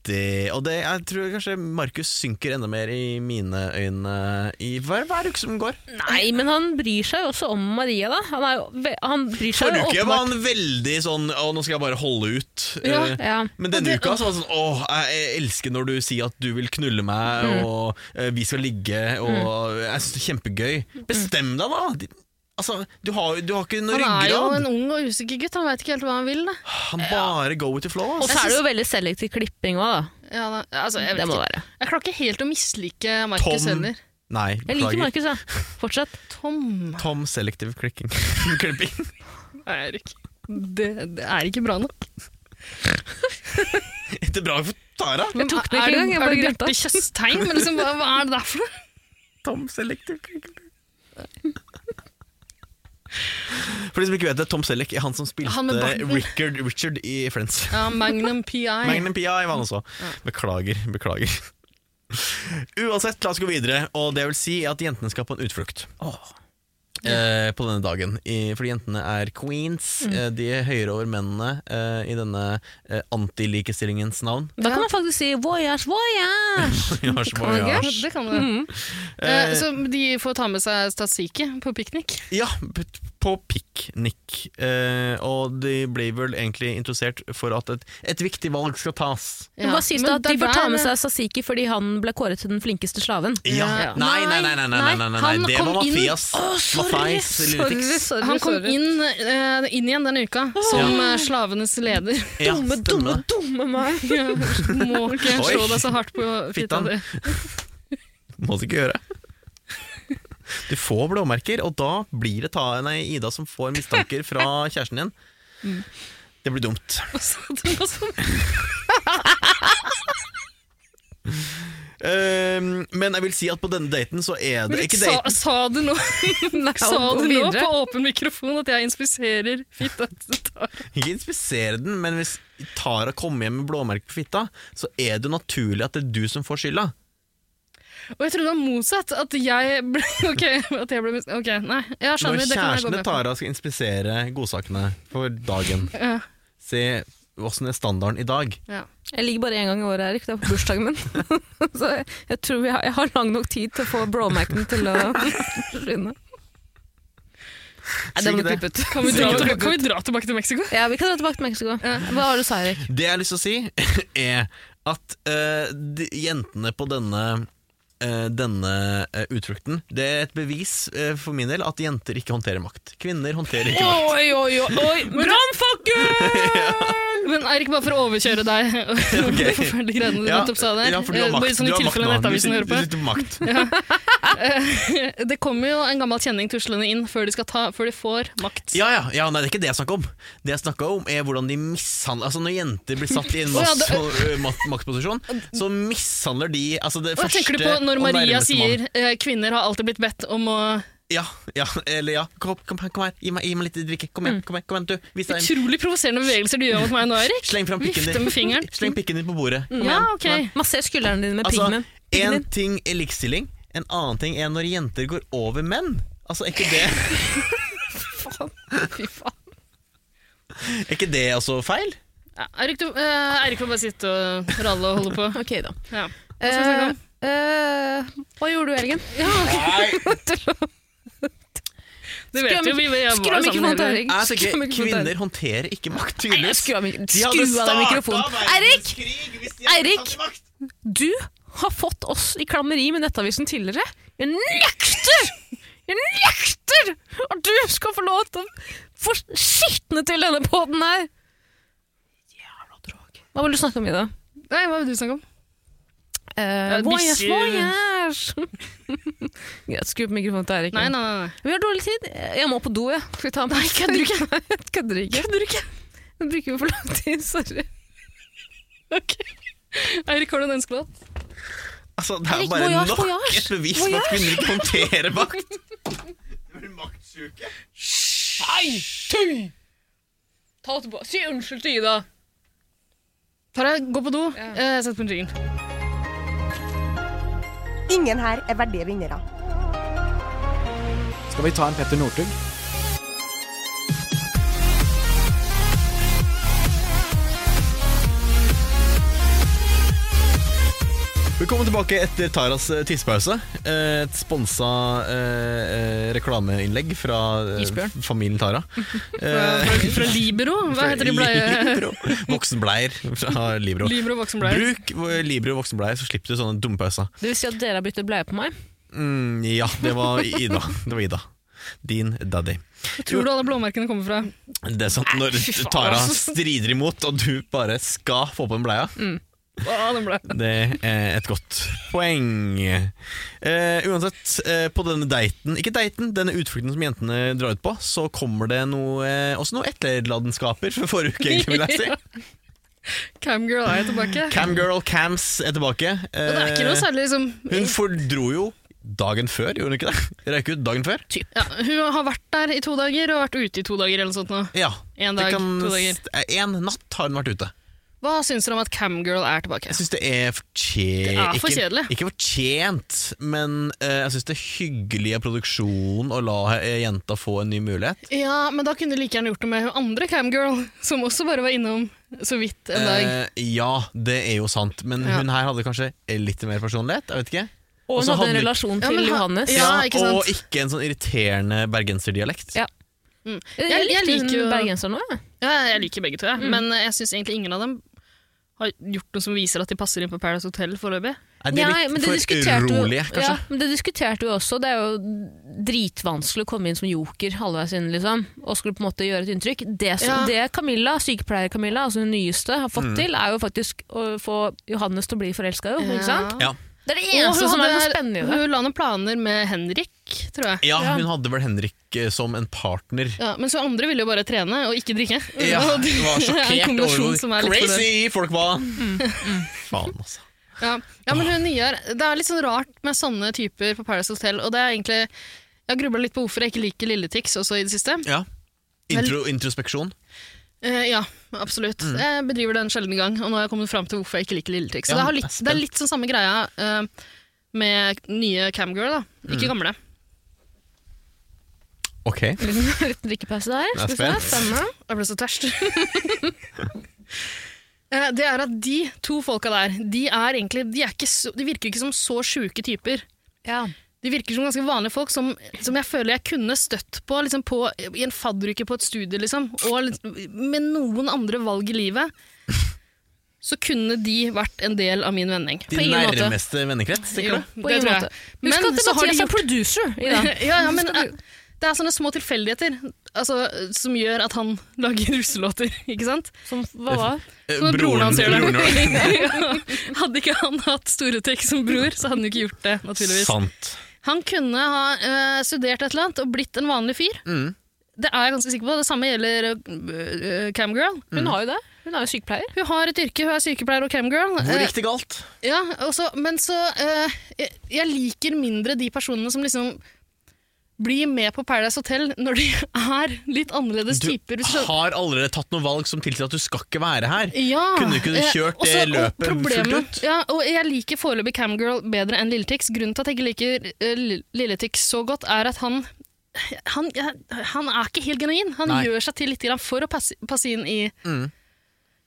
det, og det, jeg tror kanskje Markus synker enda mer i mine øyne i hver, hver uke som går. Nei, men han bryr seg jo også om Maria, da. Han, er jo, ve- han bryr seg Forrige jo uke var åpenbart. han veldig sånn 'Å, nå skal jeg bare holde ut'. Ja, Eh, Ja. Men denne Og det- uka så var det sånn 'Å, jeg elsker når du sier at du vil knulle meg', og eh, 'vi skal ligge', og 'jeg syns det er kjempegøy'. Bestem deg, da! De- Altså, du har, du har ikke noe Han er jo en ryggrad. ung og usikker gutt, han veit ikke helt hva han vil. Da. Han bare go with the flow. Og ass. så er det jo veldig selektiv klipping òg, da. Ja, da. Altså, jeg, vet Det må ikke. det være. jeg klarer ikke helt å mislike Markus Tom. heller. Nei, Jeg liker beklager. Markus, da. Fortsett. Tom Tom selective clicking. (laughs) Klipping. Eirik. Det, det er ikke bra nok. Det er bra for Tara. Jeg tok den Er ikke du- engang. Jeg Er bare du grøtta. Bjarte Tjøstheim? Men Liksom, hva, hva er det der for noe? Tom Selleck. (laughs) For de som ikke vet det, Tom Selleck er han som spilte Han med barten. Richard, Richard i Friends. Ja, Magnum PI. Magnum P.I. var han også. Beklager, beklager. Uansett, la oss gå videre, og det vil si at jentene skal på en utflukt. Eh, på denne dagen. I, fordi jentene er queens. Mm. Eh, de er høyere over mennene eh, i denne eh, antilikestillingens navn. (laughs) Da kan man faktisk si voyage, voyage! Ja, så må vi Ja, ha- det kan du. Eh, så de får ta med seg statsiki på piknik. Ja, p- på piknik. Eh, og de blir vel egentlig interessert for at et, et viktig valg skal tas. Men Hva sies det men at de det får ta der- med seg Sasiki fordi han ble kåret til den flinkeste slaven? Ja. Nei, nei, nei, nei, nei, nei, nei, nei, Han det var kom inn- Mathias. Mathias Lilletiks. sorry, Han kom inn, eh, inn igjen denne uka som eh, slavenes leder. (laughs) Ja, stemmer det. dumme meg! Du må ikke Oi. slå deg så hardt på fitta Fittan. di. Må du ikke gjøre. Du får blåmerker, og da blir det ta, nei, Ida som får mistanker fra kjæresten din. Mm. Det blir dumt. Altså, det var sånn- Eh, men jeg vil si at på denne daten så er det ikke Sa, daten. sa du nå, sa gå du nå videre. på åpen mikrofon at jeg inspiserer fitta til Tara? Ikke inspisere den, men hvis Tara kommer hjem med blåmerke på fitta, så er det jo naturlig at det er du som får skylda. Og jeg trodde det var motsatt. At jeg ble (laughs) Ok, at jeg ble mis- Ok, nei. Jeg skjønner, Når det kan jeg gå kjæresten til med på. Tara skal inspisere godsakene for dagen, Ja, se åssen er standarden i dag. ja. Jeg ligger bare én gang i året, Erik. Det er på bursdagen min. (laughs) Så jeg, jeg tror jeg har, jeg har lang nok tid til å få bromerken til å forsvinne. Nei, Si det må ikke du det. klippe ut. Kan, vi dra, Sikkert tilba- kan vi dra tilbake til Mexico? Ja, vi kan dra tilbake til Mexico. Hva har du sa, Erik? Det jeg har lyst til å si, (laughs) er at eh, de, jentene på denne eh, denne eh, utflukten Det er et bevis eh, for min del at jenter ikke håndterer makt. Kvinner håndterer ikke makt. Oi, oi, oi! (laughs) oi. Brannfakkel! Men Erik, bare for å overkjøre (laughs) deg og (laughs) de forferdelige greiene du Ja, nettopp sa der ja, for du har eh, Bare makt. sånn Du i har makt tilfelle nå. Du Nettavisen sitter- hører du på. sitter på makt. (laughs) Det kommer jo en gammel kjenning tuslende inn før de, skal ta, før de får makt. Ja, ja, ja, nei, det er ikke det jeg snakker om. Det jeg snakker om er hvordan de mishandler Altså Når jenter blir satt i en (laughs) Å, ja, mas- det- og, ø, mak- maktposisjon, så mishandler de altså det Og jeg første tenker du på når og Maria nærmeste mann. sier eh, 'kvinner har alltid blitt bedt om å' Ja, ja, eller ja. Kom, kom, her, kom her, gi meg, gi meg litt drikke. Kom Mm. igjen, kom igjen, kom igjen du. Vis deg en. Utrolig provoserende bevegelser du gjør mot meg nå, Erik. Sleng fram pikken Vifte med din. fingeren. Mm. Sleng pikken din på bordet. (laughs) Kom Ja, igjen, ok. kom igjen. Masser skuldrene dine med Altså, pigmen. Pigmen én din. ting er likestilling, en annen ting er når jenter går over menn. Altså, er ikke det, Fy faen. er ikke det altså feil? Ja, Eirik, du, eh, Eirik får bare sitte og ralle og holde på. Ok, da. Ja. Hva skal vi snakke Eh, om? eh, hva gjorde du i helgen? Nei. Det vet jo vi. vi var Skru av sammen mikrofonen til hele- Erik. Jeg Skru tenker, av mikrofonen til Kvinner Erik. håndterer ikke makt, Nei, jeg tydeligvis. Skru av mikrofonen. De hadde Skru av den startet mikrofonen. Eirik! verdenskrig hvis de hadde Eirik! tatt makt. Du har fått oss i klammeri med Nettavisen tidligere. Jeg nekter! Jeg nekter at du skal få lov til å få skitne til denne poden her! Jævla drog. Hva vil du snakke om i dag? Nei, hva vil du snakke om? Uh, Ja, voyage, bikkjer. voyage! (laughs) Greit, skru på mikrofonen til Erik. Nei, nei, nei. Vi har dårlig tid. Jeg må på do, jeg. Skal vi ta en Nei, kødder du (laughs) ikke? kødder ikke. Kødder ikke. Nå bruker vi for lang tid, sorry. nei. Ok. Eirik, har du en ønskelåt? Altså, det er Eirik, jo bare voyage, nok voyage. et bevis på at Voyage. kvinner ikke håndterer (laughs) makt. Det blir maktsjuke. Nei, tull! Ta tilbake. Si unnskyld til Ida. Tara, gå på do. Ja. Eh, Sett på en jingle. Ingen her er verdige vinnere. Skal vi ta en Petter Northug? Velkommen tilbake etter Taras eh, tissepause. Eh, Et sponsa eh, eh, reklameinnlegg fra eh, Isbjørn. f- familien (laughs) Tara. Fra, Eh, (laughs) fra, fra Libero? Hva heter de bleie? Libro. Voksenbleier fra Libro. Libero voksenbleier. Bruk eh, Libro voksenbleier, så slipper du sånne dumme pauser. Det vil si at dere har byttet bleie på meg. Mm, ja, det var Ida. Det var Ida. Din daddy. Hvor tror du alle blåmerkene kommer fra? Det er sant, Når fy faen, Tara altså. strider imot, og du bare skal få på den bleia, Ah, den ble. det er et godt poeng. Eh, uansett, eh, på denne daten Ikke daten, denne utflukten som jentene drar ut på, så kommer det noe, eh, også noe etterladenskaper fra forrige uke, egentlig, vil (laughs) jeg si. Camgirl er jeg tilbake. Camgirl Cams er tilbake. Og det er ikke noe Eh, særlig liksom hun fordro jo dagen før, gjorde hun ikke det? Røyk ut dagen før? ja, Hun har vært der i to dager og vært ute i to dager eller noe sånt nå. Ja. En det dag, kan- to dager. eh, En natt har hun vært ute. Hva syns dere om at Camgirl er tilbake? Jeg syns det er fortjent Det er for kjedelig. Ikke, ikke fortjent, men eh, jeg syns det er hyggelig av produksjonen å la eh, jenta få en ny mulighet. Ja, men da kunne de like gjerne gjort det med hun andre Camgirl, som også bare var innom så vidt en dag. Eh, ja, det er jo sant, men Ja. hun her hadde kanskje litt mer personlighet. Jeg vet ikke. Og hun så hadde en hadde- relasjon Ja, til men ha- Johannes. Ja, ikke sant? Og ikke en sånn irriterende bergenserdialekt. Ja. Mm. Jeg, Jeg- jeg likte liker jo- hun bergenseren òg, jeg. Ja, jeg liker begge to, jeg. men eh, jeg syns egentlig ingen av dem har gjort noe som viser at de passer inn på Paradise Hotel foreløpig. Er det Nei, men litt for diskuterte jo- urolige, kanskje? Ja, men det diskuterte vi også. Det er jo dritvanskelig å komme inn som joker halvveis inn, liksom. Og skulle på en måte gjøre et inntrykk. Det, Ja. som, det Camilla, sykepleier Camilla, altså hun nyeste, har fått til, er jo faktisk å få Johannes til å bli forelska, jo. Ikke sant? Ja. Det er det Og eneste hun, som er noe hadde, spennende i det. hun la noen planer med Henrik, tror jeg. Ja, Ja. hun hadde vel Henrik eh, som en partner. Ja, mens hun andre ville jo bare trene og ikke drikke. Ja, (laughs) Og det var er en sjokkert over kombinasjon som er hvor litt for Mm, dårlig. crazy folk var! Faen, altså. Ja, ja men hun nye er Det er litt sånn rart med sånne typer på Paradise Hotel, og det er egentlig Jeg har grubla litt på hvorfor jeg ikke liker Lilletix også i det siste. Ja. Intro, introspeksjon. Eh, ja, absolutt. Jeg bedriver det en sjelden gang, og nå har jeg kommet fram til hvorfor jeg ikke liker Lilletix. Så Mm. Ja, det, har jeg er litt, spent. det er litt sånn samme greia eh, med nye Camgirl, da. Mm. Ikke gamle. Ok. Liten drikkepause der. Jeg er Skal vi se. spent. Spennende. Jeg ble så tørst. (laughs) Eh, det er at de to folka der, de er egentlig De, er ikke så, de virker ikke som så sjuke typer. Ja. De virker som ganske vanlige folk som, som jeg føler jeg kunne støtt på, liksom på i en fadderuke på et studie, liksom, og litt- med noen andre valg i livet, så kunne de vært en del av min vending. På Din ingen måte. nærmeste vennekrets, tenker Jo, du? På ingen måte. Husk Men at så har de Mathias er gjort producer i dag. (laughs) ja, ja, men eh, det er sånne små tilfeldigheter altså, som gjør at han lager russelåter, (laughs) ikke sant? Som hva var? Eh, Som broren hans gjør broren vår. (laughs) det. Ja. Hadde ikke han hatt Storetek som bror, så hadde han jo ikke gjort det, naturligvis. Sant. Han kunne ha eh, studert et eller annet og blitt en vanlig fyr. Mm. Det er jeg ganske sikker på. Det samme gjelder eh, eh, Camgirl. Hun har jo det. Hun er jo sykepleier. Hun har et yrke, hun er sykepleier og camgirl. Hvor Eh, gikk det galt? Ja, og så- men så eh, jeg, jeg liker mindre de personene som liksom blir med på Paradise Hotel når de (laughs) er litt annerledes Du typer. hvis du skjønner. har allerede tatt noen valg som tilsier at du skal ikke være her. Ja, Kunne ikke du eh, kjørt og det så- løpet og problemet- fullt ut? Ja, og jeg liker foreløpig Camgirl bedre enn Lilletix. Grunnen til at jeg ikke liker eh, Lill- Lilletix så godt, er at han han, han er ikke helt genuin. Han Nei. gjør seg til litt grann for å passe, passe inn i, Mm.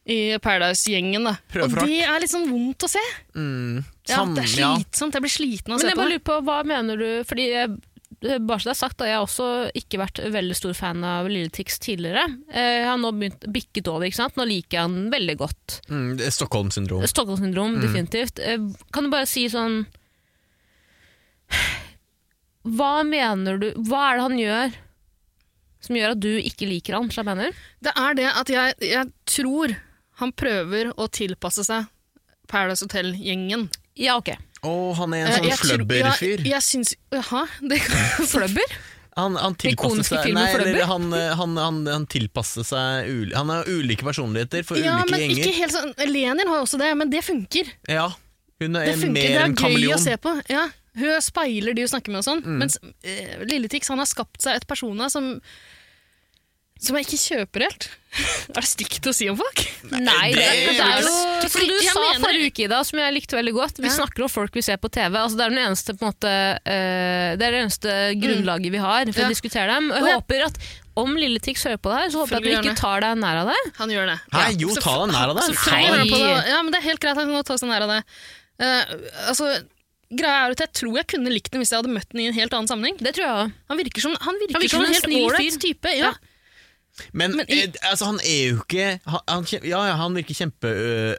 i Paradise-gjengen. da. Prøver Og for det er litt sånn vondt å se. Mm. Ja, det Sam- er Sånn, ja. slitsomt. Jeg blir sliten av å Men se jeg på bare det. lurer på, hva mener du Fordi jeg eh, bare så det er sagt, da, jeg har også ikke vært veldig stor fan av Lille Tix tidligere. Eh, Jeg har nå begynt bikket over, ikke sant? Nå liker jeg den veldig godt. Mm, det er Stockholm-syndrom. Stockholm-syndrom, definitivt. Eh, Kan du bare si sånn Hva mener du Hva er det han gjør som gjør at du ikke liker han? Slapp hender? Det er det at jeg, jeg tror han prøver å tilpasse seg Paradise Hotel-gjengen. Ja, ok. Å, han er en Eh, sånn jeg tror- flubberfyr. Ja, jeg syns Jaha? Det (laughs) kan Fløbber? Han, han tilpasser Ikoniske seg filmen Nei, for eller øvrig. han, eh, han, han, han tilpasser seg ul, Han har ulike personligheter for ja, ulike men gjenger. ikke helt sånn Lenin har jo også det, men det funker. Ja, hun er Det funker, mer det er enn gøy å kameleon. Mm. se på. Ja, hun speiler de hun snakker med og sånn. Mens eh, Lilletix han har skapt seg et persona som som jeg ikke kjøper helt. (laughs) Er det stygt å si om folk? (laughs) Nei, det, det- det er jo Fordi du Jeg sa mener- forrige uke, Ida, som jeg likte veldig godt Vi Ja. snakker om folk vi ser på TV. Altså, det er den eneste, på en måte, eh, det er det eneste grunnlaget vi har for Ja. å diskutere dem. Og jeg Og jeg- håper at om Lille Tix hører på det her, så håper jeg at Følger vi ikke gjerne. tar deg nær av det. Han gjør det. Nei, Ja. jo, Så ta deg nær av det. Ta Nei, deg hør på det. Ja, men det er helt greit, han kan godt ta seg nær av det. Eh, altså, greia er at Jeg tror jeg kunne likt den hvis jeg hadde møtt den i en helt annen sammenheng. Det tror jeg òg. Han virker som, han virker Han virker som en som en helt snill ålreit fyr. type. Ja. Men, Men i- eh, altså, han er jo ikke han, han, kjem- ja, ja, han virker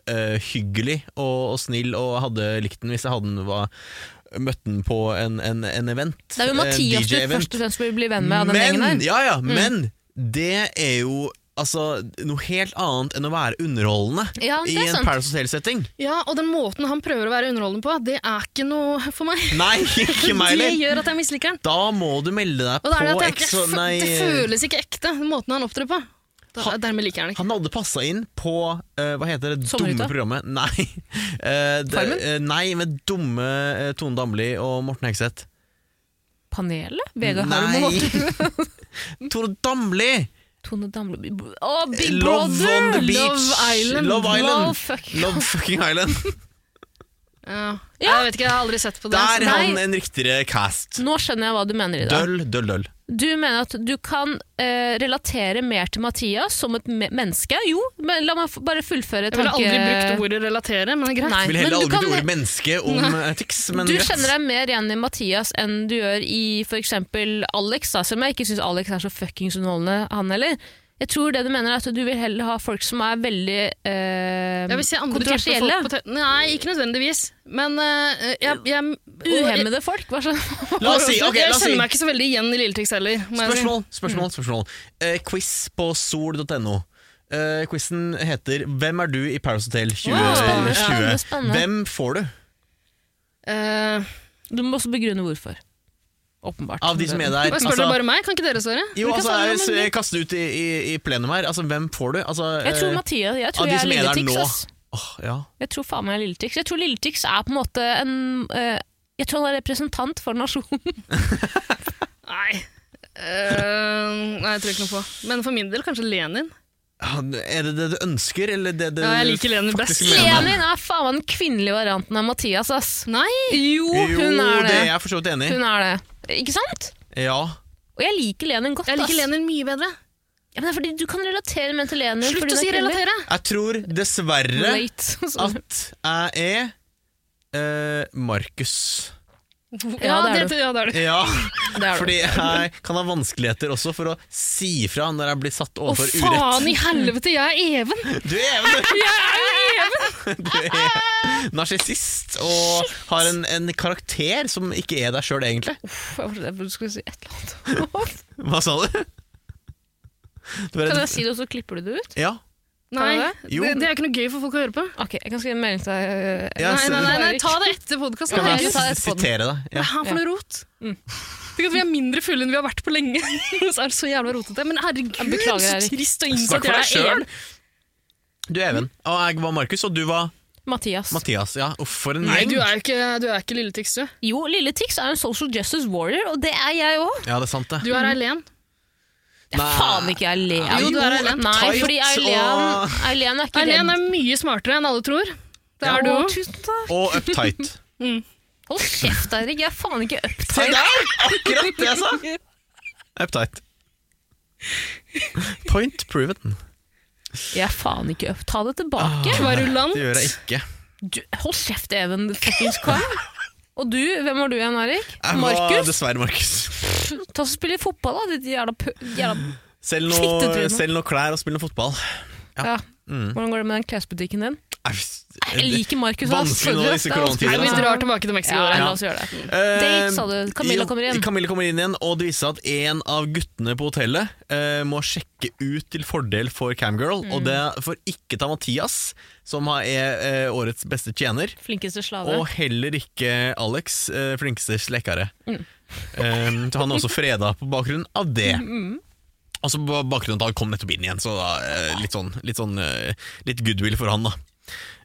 kjempehyggelig og, og snill, og hadde likt den hvis jeg hadde den var, møtt den på en, en, en event. Det er jo en Mathias du DJ-event. først og fremst blir venn med av den gjengen men, her. Mm. ja, ja, men det er jo altså, noe helt annet enn å være underholdende Ja, det i er sånn. en sant. Paradise Hotel-setting. ja, Og den måten han prøver å være underholdende på, det er ikke noe for meg. Nei, ikke (laughs) meg det heller! gjør at jeg misliker den. Da må du melde deg Og det, er det, på at jeg, Exo... jeg, fø- Nei, eh. det føles ikke ekte, den måten han opptrer på. Da, Han- dermed liker jeg den ikke. han hadde passa inn på eh, Hva heter det dumme Sommerhytta? programmet? (laughs) Nei, Eh, det, Farmen? eh, nei med dumme eh, Tone Damli og Morten Hegseth. Panelet? Vegard Harm og Nei! (laughs) Tone Damli! Tone Damli Å, Big Love Brother! on the beach! Love Island. Love Island. Love fuck. Love fucking (laughs) Island. Ja. Jeg vet ikke, jeg har aldri sett på det. Der så- er han Nei, en riktigere cast. Nå skjønner jeg hva du mener, Ida. Døll, døll, døll. Du mener at du kan eh, relatere mer til Mathias som et me menneske? Jo, men la meg f bare fullføre jeg ville aldri brukt ordet relatere, men det er greit. Nei. Vil Men heller du aldri kan- bruke ordet menneske om eh, Tix, men Du greit. kjenner deg mer igjen i Mathias enn du gjør i f.eks. Alex, da, selv om jeg ikke syns Alex er så fuckings underholdende, han heller. Jeg tror det du mener er at du vil heller ha folk som er veldig eh, Jeg vil se andre typer kontroversielle. folk på te- Nei, ikke nødvendigvis. Men eh, jeg, jeg, jeg, Uhemmede folk, hva så? La oss si, ok, jeg la oss si. kjenner meg ikke så veldig igjen i Lilletix heller. må jeg si. Spørsmål, spørsmål, spørsmål. Eh, quiz på sol.no. Uh, quizen heter 'Hvem er du i Paris Hotel 2020'? Wow, spennende, spennende, spennende. Hvem får du Eh, Du må også begrunne hvorfor. Åpenbart. av de som er der? Spør Altså, dere bare meg? Kan ikke dere svare? jo, Vi kan altså, svare jeg, om s- det. jeg kaster ut i, i, i plenum her. Altså, hvem får du? Altså, Jeg tror eh, Mathias Jeg tror av de jeg er som er Lille der Tix, nå. ass. Åh, ja. Jeg tror faen meg Lille Tix. Jeg tror Lille Tix er på en måte en eh, Jeg tror han er representant for nasjonen. Nei. Eh, nei, jeg tror ikke noe på. Men for min del kanskje Lenin. Han- Er det det du ønsker, eller det du Ja, jeg liker Lenin best. faktisk mener? Lenin er faen meg den kvinnelige varianten av Mathias, ass. Nei! Jo, hun er det det. er jeg for så vidt enig i. Hun er det. Ikke sant? Ja. Og jeg liker Lenin godt, Jeg liker ass. Lenin mye bedre. Ja, men det er fordi du kan relatere mer til Lenin. Slutt fordi å hun si er kvinnelig. (laughs) relatere! Jeg tror dessverre Relate. Så- at jeg er eh, Markus. Ja, det det, er du. ja, det er du. Ja, (laughs) Det er du. fordi jeg kan ha vanskeligheter også for å si fra når jeg blir satt Å, overfor urett. faen i helvete, jeg er (laughs) Even! Du er even! (laughs) Du er narsissist og har en, en karakter som ikke er deg sjøl, egentlig. Uff, jeg trodde jeg skulle si et eller annet. (laughs) Hva sa du? Du er Kan jeg redd? si det, og så klipper du det ut? Ja. Nei, Kan det, Jo. det er ikke noe gøy for folk å høre på. Ok, Jeg kan skrive en melding til deg. eh, Ja, Nei, så- nei, nei, nei ta det etter podkasten. Ja, men Hva jeg er sa- S- Sitere deg. det Ja. her for noe rot? Mm. Tenk at vi er mindre fulle enn vi har vært på lenge. (laughs) så er det så jævla rotete. Men herregud, Jeg beklager, så Erik. trist og Snakk innsatt for deg jeg er. sjøl! Du er Even, og jeg var Markus, og du var Mathias. Mathias. Ja, uff, for en Even. Nei, gjeng. du er jo ikke, du er ikke lille Tix, du. Jo, Lille Tix er en social justice warrior, og det er jeg òg. Ja, det er sant, det. Du er Eileen. Nei. Faen ikke Eileen. Jo, du er Eileen. Nei, Tight fordi Eileen, og- Eileen er ikke Eileen redd. er mye smartere enn alle tror. Det er Å, du òg. Tusen takk. Og (laughs) uptight. Hold kjeft, Eirik. Jeg er faen ikke Se uptight. der! Akkurat det jeg sa! Uptight. Point proven. Jeg er faen ikke up. Ah. Ta det tilbake. Kvarulant. Det gjør jeg ikke. (laughs) Du, hold kjeft, Even. Fuckings kvam. Og du, hvem var du igjen, Erik? Jeg var Markus? Dessverre, Markus. Ta og Spille fotball, da, ditt jævla pø... Jævla... Selg Fittetryne. noe, selg noe klær og spill noe fotball. Ja. Ja. Mm. Hvordan går det med den klesbutikken din? Jeg Jeg liker Markus. ass. Vanskelig nå Skjønner du? disse Det er vanskelig. koronatidene. Nei, vi altså. drar tilbake til Mexico. Ja, da. ja, Mm. Ja. la oss gjøre det. Eh, Date, sa du. Camilla kommer inn. Camilla kommer inn igjen, og det viser seg at en av guttene på hotellet eh, må sjekke ut til fordel for Camgirl, Mm. og det får ikke ta Mathias, som har- er eh, årets beste tjener, Flinkeste slave. og heller ikke Alex, eh, flinkeste slekkere. Mm. Eh, så han er også freda på bakgrunn av det. Mm, Altså på bakgrunn av at han kom nettopp inn igjen, så da, eh, litt, sånn, litt, sånn, eh, litt goodwill for han, da.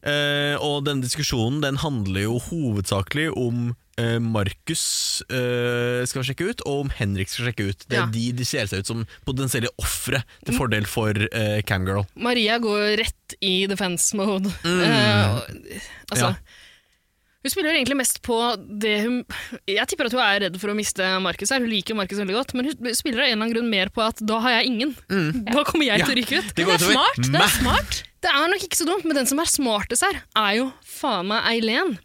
Eh, og denne diskusjonen den handler jo hovedsakelig om eh, Markus eh, skal sjekke ut, og om Henrik skal sjekke ut. Det er Ja. de de ser seg ut som potensielle ofre Mm. til fordel for eh, Camgirl. Maria går rett i defense mode. Mm. (laughs) Eh, og- altså, Ja. Hun spiller egentlig mest på det hun Jeg tipper at hun er redd for å miste Markus her. Hun liker jo Markus veldig godt, men hun spiller av en eller annen grunn mer på at da har jeg ingen. Mm. Da kommer jeg til å ryke ut. Det Det går er utover smart. Det meg. er smart. Det er nok ikke så dumt, men den som er smartest her, er jo faen meg Eileen.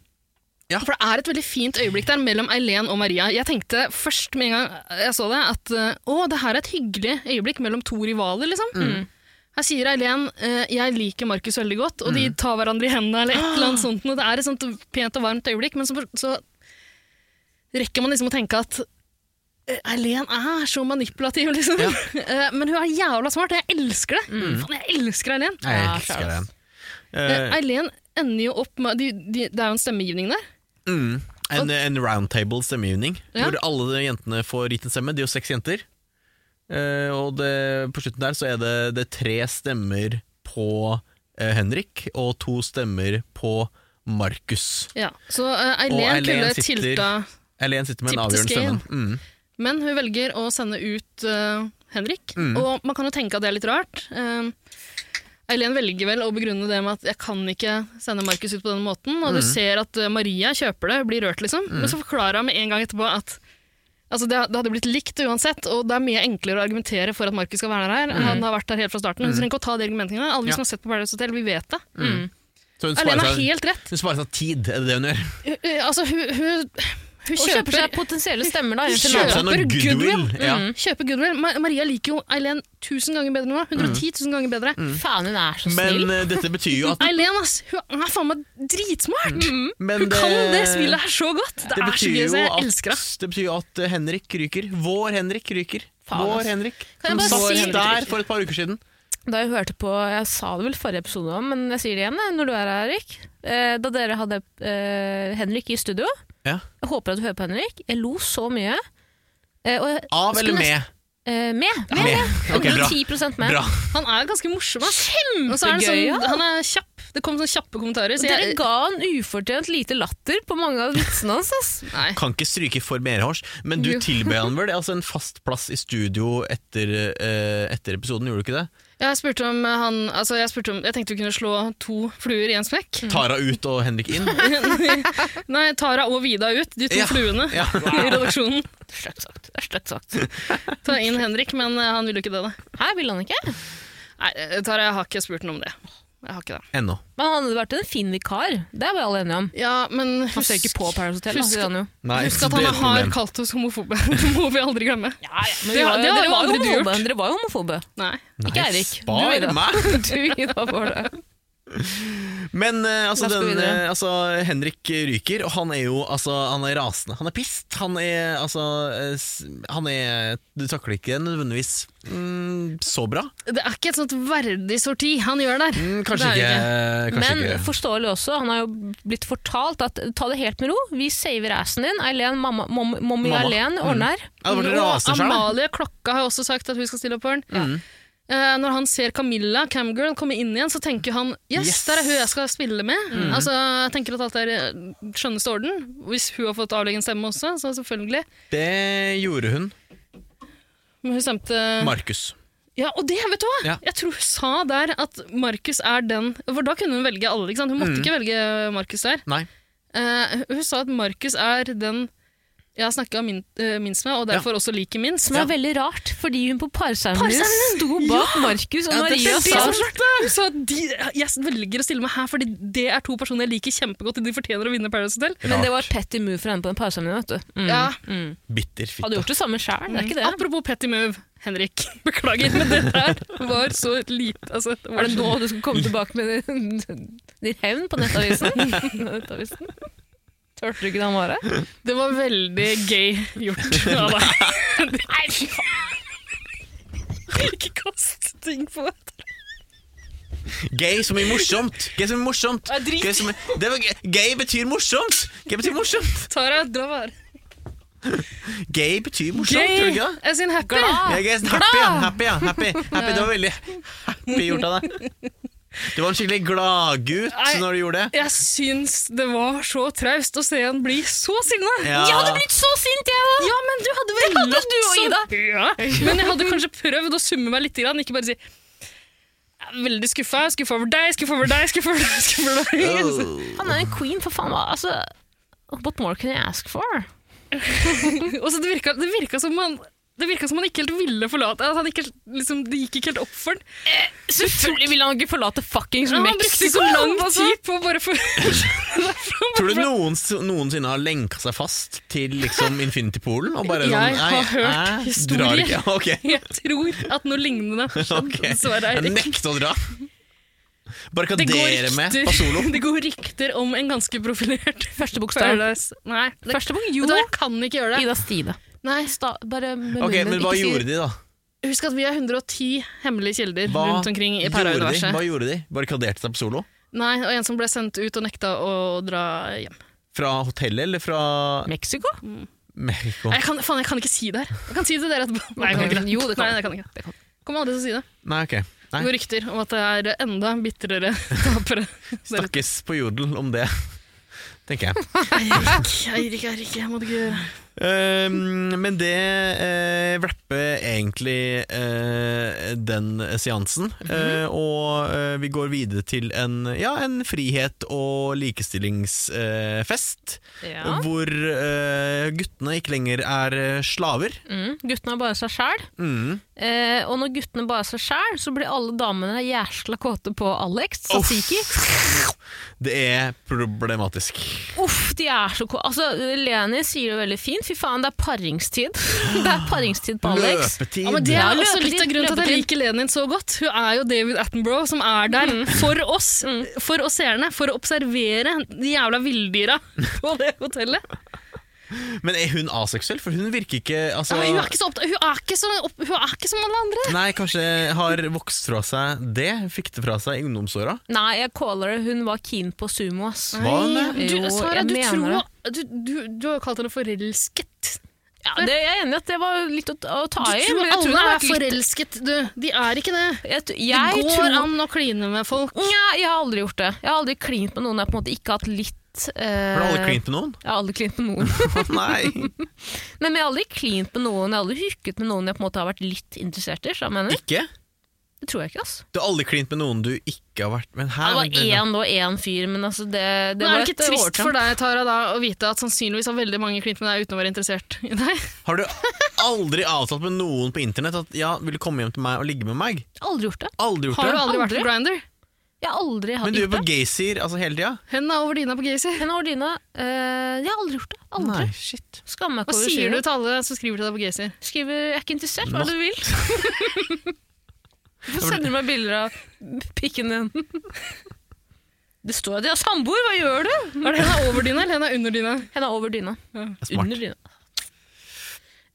Ja. For det er et veldig fint øyeblikk der mellom Eileen og Maria. Jeg tenkte først med en gang jeg så det, at eh, å, det her er et hyggelig øyeblikk mellom to rivaler, liksom. Mm. Her sier Eileen eh, jeg liker Markus veldig godt, og de Mm. tar hverandre i hendene eller et eller (gasps) annet sånt. noe. Det er et sånt pent og varmt øyeblikk, men så, så rekker man liksom å tenke at eh, Eileen er så manipulativ, liksom. (laughs) Eh, Men hun er jævla smart, og jeg elsker det. Faen, jeg elsker Eileen. Nei, Mm. jeg Ja, elsker klar. den. Eh, Eh, Eileen ender jo opp med de, de, Det er jo en stemmegivning der. mm, en, en roundtable stemmegivning, Ja. hvor alle de jentene får gitt en stemme. De er jo seks jenter. Eh, og det, på slutten der så er det, det er tre stemmer på eh, Henrik, og to stemmer på Markus. Ja. Så eh, Og Eileen Eileen kunne sitter- tilta, Eileen sitter med den Tip to avgjørende scale. stemmen. Mm. men hun velger å sende ut eh, Henrik. Mm. Og man kan jo tenke at det er litt rart. Eh, Eileen velger vel å begrunne det med at jeg kan ikke sende Markus ut på den måten. Og Mm. du ser at eh, Maria kjøper det, blir rørt, liksom. Men så forklarer hun med en gang etterpå at Altså det, det hadde blitt likt uansett, og det er mye enklere å argumentere for at Markus skal være der her. Han har vært der helt fra starten. Hun trenger ikke å ta de argumentene. Alle vi Mm. Ja. som har sett på Paradise Hotel, vi vet det. Mm. Mm. Så hun Eileen sparer, har seg, Mm. helt rett. hun sparer seg tid, er det det hun gjør? Eh, eh, Altså, hun, hun, hun Og kjøper, kjøper seg potensielle stemmer, da. Hun Unnskyld Kjøper meg. seg noe kjøper goodwill. goodwill. Ja. Mm. Kjøper goodwill. Ma Maria liker jo Eileen 1000 ganger bedre nå. 110 000 ganger bedre. Faen, hun er så Mm. Men snill. eh, dette betyr jo at Eileen ass, hun er faen meg dritsmart! men eh, Hun kan det spillet her så godt! Det, det er så betyr gøy, jo så jeg at- elsker det. Det betyr jo at eh, Henrik ryker. Vår Henrik ryker. Faen, Vår ass. Henrik. Kan jeg Som bare satt si- der for et par uker siden. Da jeg hørte på, jeg sa det vel forrige episode om, men jeg sier det igjen jeg, når du er her, Erik. Eh, Da dere hadde eh, Henrik i studio, Ja. jeg håper at du hører på Henrik, jeg lo så mye. Eh, og, jeg- Av eller skulle med? nesten- Eh, med. med. Med. Ok, bra. 110 med. Bra. Han er ganske morsom, ass. Og så er det Kjempegøy. ja. sånn, han er kjapp. Det kom sånne kjappe kommentarer. Så Dere jeg, ga han ufortjent lite latter på mange av vitsene hans. ass. nei. Kan ikke stryke for merhårs, men du Jo. tilbød han vel altså en fast plass i studio etter, eh, etter episoden, gjorde du ikke det? Jeg spurte om han altså jeg, spurte om, jeg tenkte vi kunne slå to fluer i en Mm. smekk. Tara ut og Henrik inn. (laughs) Nei, Tara og Vida ut, de to Ja. fluene (laughs) Ja. i redaksjonen. Sløtt sagt. Det er sløtt sagt. Ta inn Henrik, men eh, han ville jo ikke det, da. Her vil han ikke. Nei, eh, Tara, jeg har ikke spurt noe om det. Jeg har ikke det. Ennå. Men han hadde vært en fin vikar. Det er vi alle enige om. Ja, men Han ser husk- ikke på Paradise Hotel. da, husk- sier han jo. Nei, Husk at det er han et har problem. kalt oss homofobe. (laughs) Det må vi aldri glemme. Men Det vi har- var jo- det har dere, var jo aldri du homofobe. gjort. dere var jo homofobe. Nei. Ikke Nei, Eirik. Du, Spar Ida. meg! Du, Ida, var det. Men (laughs) eh, altså, La oss gå den, videre. eh, altså, Henrik ryker, og han er jo altså, han er rasende. Han er pissed. Han er altså eh, s- han er, Du takler ikke det nødvendigvis mm, så bra. Det er ikke et sånt verdig sorti han gjør der. Mm, Det kanskje er det ikke. Kanskje Men ikke. forståelig også. Han har jo blitt fortalt at ta det helt med ro, vi saver assen din. Eileen, mamma, mom, mommy Mamma. Mm. Eileen ordner. Ja, det var raser seg, da. Mm. Amalie Klokka har også sagt at hun skal stille opp for ham. Eh, når han ser Camilla, Camgirl, komme inn igjen, så tenker han yes, Yes. Mm. der er hun jeg skal spille med. Altså, jeg tenker at alt er i skjønneste orden. Hvis hun har fått avlegge en stemme også, så selvfølgelig. Det gjorde hun. Men hun stemte Markus. Ja, og det, vet du hva? Ja. Jeg tror hun sa der at Markus er den For da kunne hun velge alle, Mm. ikke sant? Hun måtte ikke velge Markus der. Nei. Eh, hun sa at Markus er den jeg har snakka min, eh, minst med, og derfor også liker minst. Som er veldig rart, fordi hun på parseremonien Parseremonien! sto bak Markus og Ja, det- Maria det- og det- sa det- Så de, jeg velger å stille meg her, fordi det er to personer jeg liker kjempegodt, og de fortjener å vinne Paradise Hotel. Men det var et petty move fra henne på den parseremonien, vet du. Mm. Ja. Mm. Bitter fitte. Hadde gjort det samme sjæl, det er ikke det? Apropos petty move, Henrik. (laughs) Beklager, men det der var så lite. Altså, det var Er det nå du skal komme tilbake med din hevn på (laughs) nettavisen? nettavisen? Tørte du ikke det han var her? Det var veldig gøy (laughs) gjort av deg. Nei, fy faen. Ikke kast ting på meg. Gay som i morsomt! Gay som i morsomt! Ja, drit. Gay, som i, det var, gøy. gay betyr morsomt! Gay betyr morsomt! Tara, dra vare. Gay betyr Sånn morsomt, tror du Gay ikke det? as in happy. Ja, gay is happy, ja. Happy, ja. Happy. happy. Det var veldig happy gjort av deg. Du var en skikkelig gladgutt Nei. når du gjorde det. Jeg syns det var så traust å se han bli så sinna. Ja. Jeg hadde blitt så sint, jeg òg! Ja, men du hadde vel sånn- hadde du og som- Ida. Ja. Men jeg hadde kanskje prøvd å summe meg litt, grann, ikke bare si «Jeg er Veldig skuffa. Skuffa over deg, skuffa over deg, skuffa over deg. Skuffa over deg. Han er en queen, for faen. hva- Altså, what more can you ask for? Og så det virka, det virka som han det virka som han ikke helt ville forlate at han ikke, helt- liksom, Det gikk ikke helt opp for ham. Selvfølgelig ville han ikke forlate fuckings Han brukte så lang altså. tid på å bare for... Tror (laughs) du noens, noensinne har lenka seg fast til liksom Infinity Poolen? Og bare Jeg sånn, har «Nei, hørt jeg historier. drar ikke». Ok. Jeg tror at noe lignende har (laughs) skjedd, (laughs) Ok. dessverre, Jeg Eirik. nekter å dra. Det går, Barrikadere med på (laughs) solo. rykter, det går rykter om en ganske (laughs) profilert Første bokstav. Paradise. Nei, det, Første bok, vet jo. du hva, jeg kan ikke gjøre det. Ida Stine. Nei, Sta, bare med Ok, munnen, Men hva ikke si- gjorde de, da? husk at vi har 110 hemmelige kilder Hva rundt omkring i gjorde de? Hva parauniverset. gjorde de? Barrikaderte seg på solo? Nei, og en som ble sendt ut og nekta å dra hjem. Fra hotellet eller fra Mexico? Mexico? Nei, Jeg kan, faen, jeg kan ikke si det her. Jeg kan si det der etterpå. Nei, jeg kan ikke det. Jo, det kan Nei, jeg kan ikke. Det kan. Kommer aldri til å si det. Nei, ok. Det Nei. går rykter om at det er enda bitrere (laughs) tapere. Dere- Snakkes på jodel om det, (laughs) tenker jeg. Eirik, Eirik, Eirik, jeg må det ikke gjøre. Ehm, men det uh, rapper egentlig eh, den seansen. Mhm. Eh, og eh, vi går videre til en, ja, en frihet- og eh, likestillingsfest. Ja. Hvor eh, guttene ikke lenger er eh, slaver. Mm. Guttene er bare seg sjæl. Mm. Eh, og når guttene bare er seg sjæl, så blir alle damene jæsla kåte på Alex Sasiki. Det er problematisk. Uff, de er så ko... Altså, Leni sier det veldig fint. Fy faen, det er paringstid. (laughs) Det er paringstid på Alex. Løpetid. Ja, men det Ja, er også løpetid, litt av grunnen til at jeg liker Lenin så godt. Hun er jo David Attenborough, som er der Mm. for oss, (laughs) for oss seerne, for å observere de jævla villdyra (laughs) på det hotellet. Men er hun aseksuell? For hun virker ikke altså, Ja, men hun, er ikke så opptatt, hun, er ikke så opp, hun er ikke som alle andre. Nei, kanskje har vokst fra seg det. Fikk det fra seg i ungdomsåra. Nei, jeg caller det. Hun var keen på sumo, ass. Hva er det? Du, Jo, Sara, jeg du, mener tror, du, du, du har kalt henne forelsket. Ja, det, jeg er enig i at det var litt å, å ta Du i. tror men jeg tror alle det har er vært litt- forelsket, du. De er ikke det. Jeg, t- Det jeg går tror an å kline med folk. Nja, jeg har aldri gjort det. Jeg har aldri klint med noen jeg på en måte ikke har hatt litt eh, Har du aldri klint med noen? (laughs) Jeg har aldri klint med noen. Å, Nei, Nei, men jeg har aldri klint med noen Jeg har aldri hooket med noen jeg på en måte har vært litt interessert i. så jeg mener. ikke? Det tror jeg ikke, ass. Du har aldri klint med noen du ikke har vært Men her Ja, det var én og én fyr, men altså det, det Men er var det ikke et trist overtramp. for deg Tara, da, å vite at sannsynligvis har veldig mange klint med deg uten å være interessert i deg? Har du aldri avtalt med noen på internett at ja, vil du komme hjem til meg og ligge med meg? Aldri gjort det. Aldri gjort Har du det. aldri vært Aldri. på Grinder? Jeg har aldri hatt Men du er gjort på det. Gaysir altså, hele tida? Henda over dina på Gacy. Henne og Dina, eh, jeg har aldri gjort det. Aldri. Nei, shit. Skammer meg Hva ikke over å si sier du det. til alle som skriver til deg på Gacy? Skriver 'jeg er ikke interessert', hva er det du vil? Hvorfor men- sender du meg bilder av pikken din? Det står at jeg har samboer, hva gjør du? Er det henda over dina eller henda under dina? Henne er over dyna. Smart. Under dyna.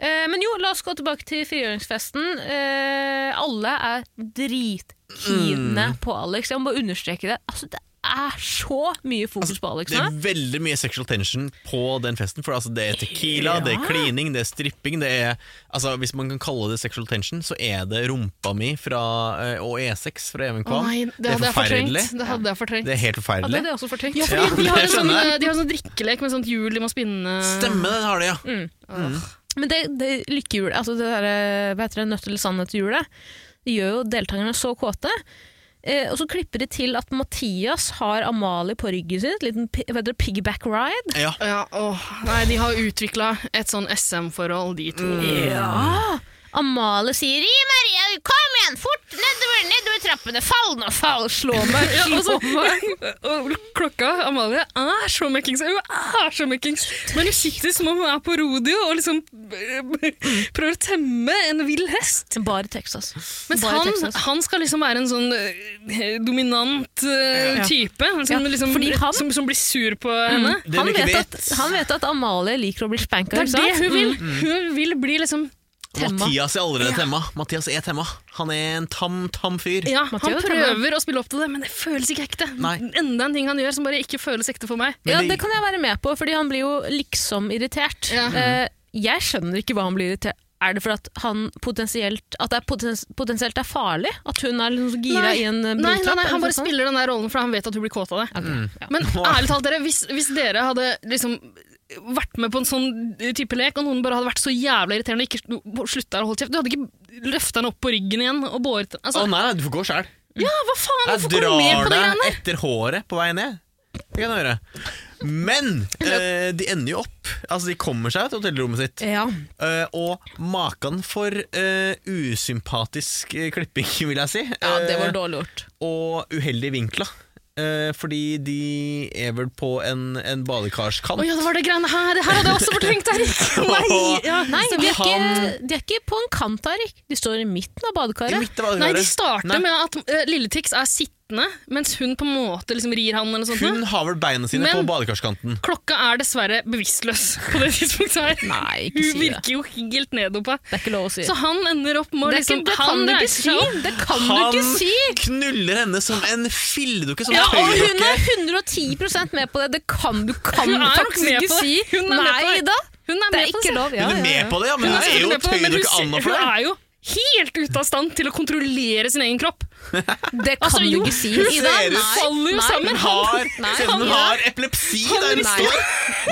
Eh, men jo, la oss gå tilbake til frigjøringsfesten. Eh, alle er dritkeene Mm. på Alex. Jeg må bare understreke det. Altså, det er så mye fokus på Alex Altså, Det nå. er veldig mye sexual tension på den festen. For altså, det er tequila, det er Ja. klining, det er stripping. Det er, altså, hvis man kan kalle det sexual tension, så er det rumpa mi fra, eh, og E6 fra Even Å Kvam. nei, det hadde jeg fortrengt. Det hadde jeg fortrengt. Det er helt Hadde forferdelig. jeg det også fortrengt? Ja, fordi Ja, de, har det en sånn, skjønner de har en sånn drikkelek med sånt hjul de må spinne Stemme, det har det, Mm. ja. Men det, det eh, lykkehjulet, altså det der, hva heter det, nødt eller sannhet-hjulet, det gjør jo deltakerne så kåte Eh, og så klipper de til at Mathias har Amalie på ryggen sin. Et liten pi- hva heter det, piggyback ride. Ja. Ja, åh, nei, de har utvikla et sånn SM-forhold, de to. Ja! Amalie sier 'Gi Maria, kom igjen! Fort! Nedover, nedover trappene! Fall nå! Fall! Slå (laughs) meg! Ja, og Slå så- (laughs) og klokka, Amalie, er så møkkings. Hun er så møkkings. Men hun sitter som om hun er på rodeo og liksom prøver å temme en vill hest. Bare i Texas. Mens Bare i han, Texas. han skal liksom være en sånn eh, dominant eh, Ja. type som, Ja, liksom, fordi han- Mm. som, som blir sur på henne. Det han du ikke vet, vet. At, han vet at Amalie liker å bli spanka. Det er ikke det sant? hun vil. Mm. Hun vil bli liksom Temma. Mathias er allerede temma. Mathias er temma. Han er en tam, tam fyr. Ja, Matteo han kan prøver å spille opp til det, men det føles ikke ekte. Nei. Enda en ting han gjør som bare ikke føles ekte for meg. Men Ja, det- det kan jeg være med på, fordi han blir jo liksom irritert. Mm. Ja. Eh, jeg skjønner ikke hva han blir irritert Er det fordi at, han potensielt, at det er potens potensielt er farlig? At hun er liksom så gira i en eh, nei, nei, biltrapp? nei, eller han noe bare sånt? spiller den der rollen fordi han vet at hun blir kåt av det. Ok, ja. Men ærlig talt, dere, hvis, hvis dere hadde liksom vært med på en sånn type lek, og noen bare hadde vært så jævla irriterende og ikke slutta å holde kjeft Du hadde ikke løfta henne opp på ryggen igjen og båret henne Å altså, nei, du får gå sjæl. Ja, hva faen? Jeg Hvorfor går du med drar på det deg greiene? etter håret på vei ned. Det kan jeg gjøre. Men eh, de ender jo opp. Altså, de kommer seg til hotellrommet sitt. Ja. Eh, og maken for eh, usympatisk eh, klipping, (laughs) vil jeg si. ja, det Eh, var dårlig gjort. og uheldige vinkler. Eh, fordi de er vel på en, en badekarskant. (laughs) Å ja, det var det greiene her! Det her hadde jeg også fortrengt, Erik! Nei, ja. Nei, Så de er, ikke, han- de er ikke på en kant, Erik. De står i midten av I badekaret. midten av Nei, badekaret. de starter Nei, med at eh, Lille Tix er sittende, mens hun på en måte liksom rir han eller noe sånt. Hun har vel beina sine Men- på badekarskanten. Klokka er dessverre bevisstløs på det tidspunktet her. Nei, ikke si Hun det. virker jo helt nedopa. Det er ikke lov å si. Så han ender opp med å det, er liksom ikke, det kan han du ikke reiser si! seg opp. Det kan du Han ikke si! knuller henne som en filledukke. Som Ja, en og hun tøydokke. er 110 med på det! Det kan du kan Hun er nok faktisk med ikke på det. si! Hun er med på Nei det. da! Hun er Det med er på ikke det. lov. Ja, Hun er ja, ja. med på det, ja, men hun Hun er er jo selvfølgelig med på det, men hun tøydokke Anna ser- for Hun det. er jo helt ute av stand til å kontrollere sin egen kropp. Det kan Altså, jo, du ikke si! hun Ida. ser ut- Nei, faller jo nei, sammen. Hun har, Nei, ser ut som hun han- har epilepsi der hun Nei. står.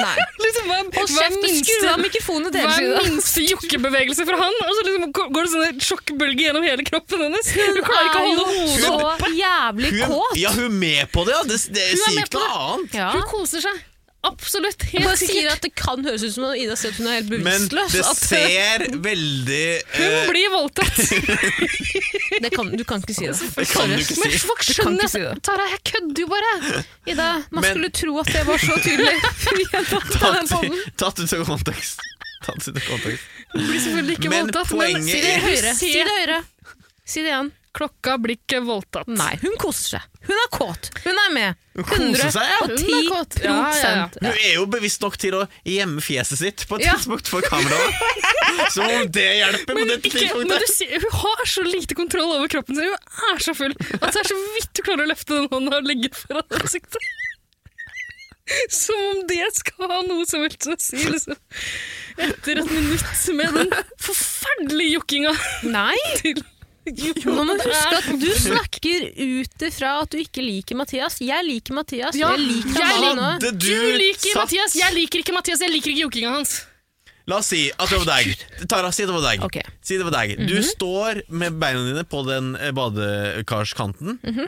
Nei. (laughs) Liksom, hva, Hold hva er kjeft og skru minste, av mikrofonen hva deres, er Ida. minste jokkebevegelse fra han? Og så liksom går- går det sånne sjokkbølger gjennom hele kroppen hennes. Hun (laughs) klarer ikke å holde hodet så opp. jævlig Hun, kåt! ja, hun er med på det, ja. Det, det Hun er sier med ikke på noe annet. Ja. Hun koser seg. Absolutt. Hun Helt bare sier sikkert. at det kan høres ut som om Ida sier at hun er altså. helt Men bevisstløs. det at- ser veldig eh, Hun blir (laughs) voldtatt. Det kan, du kan ikke si det. Det kan du ikke Men (laughs) si. folk Du kan skjønner ikke si det. Tara, jeg kødder jo bare. Ida, man Men- skulle tro at det var så tydelig. (laughs) Tatt, tatt ut av kontekst. Tatt ut av kontekst. Hun blir selvfølgelig ikke Men voldtatt, men poenget si det er- høyere. Si det høyere. Si det igjen. Klokka blir ikke voldtatt. Nei, hun koser seg. Hun er kåt. Hun er med. Hun koser seg, ja. Hun er kåt. Ja, ja, ja. Hun er jo bevisst nok til å gjemme fjeset sitt på et Ja. tidspunkt for kameraet. Som om det hjelper på Men, dette ikke, men du tidspunktet. sier, hun har så lite kontroll over kroppen sin. Hun er så full at det er så vidt du klarer å løfte den hånda og legge den foran ansiktet. Som om det skal ha noe som helst å si, liksom. Etter et minutt med den forferdelige jokkinga (laughs) Nei, til nå må du huske at du snakker ut ifra at du ikke liker Mathias. Jeg liker Mathias. Ja, jeg liker jeg Amalie nå. Hadde Du liker satt- Mathias, jeg liker ikke Mathias, jeg liker ikke jokkinga hans. La oss si at det var deg. Tara, si det var deg. Ok. Mhm. Si det var deg. Du står med beina dine på den eh, badekarskanten. Mhm.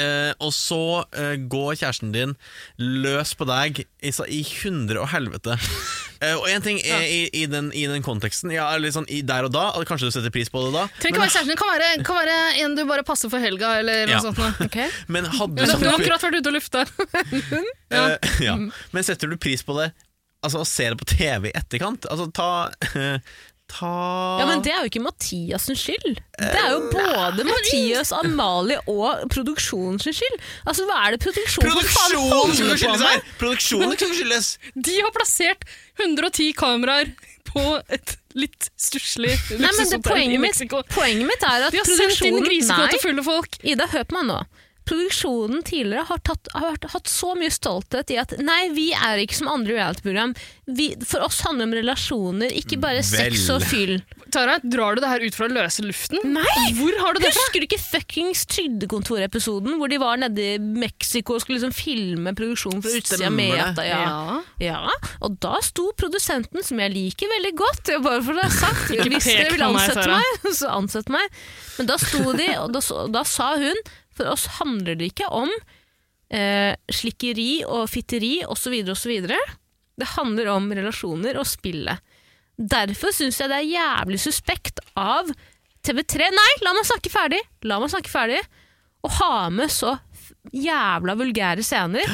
eh, og så eh, går kjæresten din løs på deg i, sa- i hundre og (laughs) helvete. Eh, og én ting er i, i, den, i den konteksten, ja, eller sånn i der og da, og kanskje du setter pris på det da, Trenger ikke men, være kjæresten din, kan være, kan være en du bare passer for helga, eller noe Ja. sånt. noe. Ok. men hadde (laughs) Du du har satt akkurat vært ute og lufta. Eh, ja. Mhm. Men setter du pris på det Altså å se det på TV i etterkant? Altså ta (laughs) eh, Ta Ja, men det er jo ikke Mathias sin skyld. Det er jo Eh, både Mathias, Amalie og produksjonen sin skyld. Altså, hva er det produksjonen for faen Produksjonen holder skulle på skyldes med? her! Produksjonen skulle skyldes! De har plassert 110 kameraer på et litt stusslig Nei, men det luksushotell i poenget, mitt, Mexico. poenget mitt er at De har sendt inn produksjonen grisekåte Nei, fulle folk. Ida, hør på meg nå. Produksjonen tidligere har, tatt, har vært- hatt så mye stolthet i at nei, vi er ikke som andre reality-program. Vi- For oss handler det om relasjoner, ikke bare sex Vel. og fyll. Tara, drar du det her ut fra løse luften? Nei! Hvor har du det fra? Husker du ikke fuckings Trygdekontorepisoden hvor de var nede i Mexico og skulle liksom filme produksjonen fra utsida Stemmer med det. at ja. ja. Og da sto produsenten, som jeg liker veldig godt, det er bare for det er (laughs) sagt Ikke Hvis pek dere vil (laughs) på meg, ansette Sara. meg, så ansett meg. Men da sto de, og da, så- da sa hun For oss handler det ikke om eh, slikkeri og fitteri osv. osv. Det handler om relasjoner og spillet. Derfor syns jeg det er jævlig suspekt av TV3 Nei, la meg snakke ferdig! La meg snakke ferdig. Å ha med så f- jævla vulgære scener.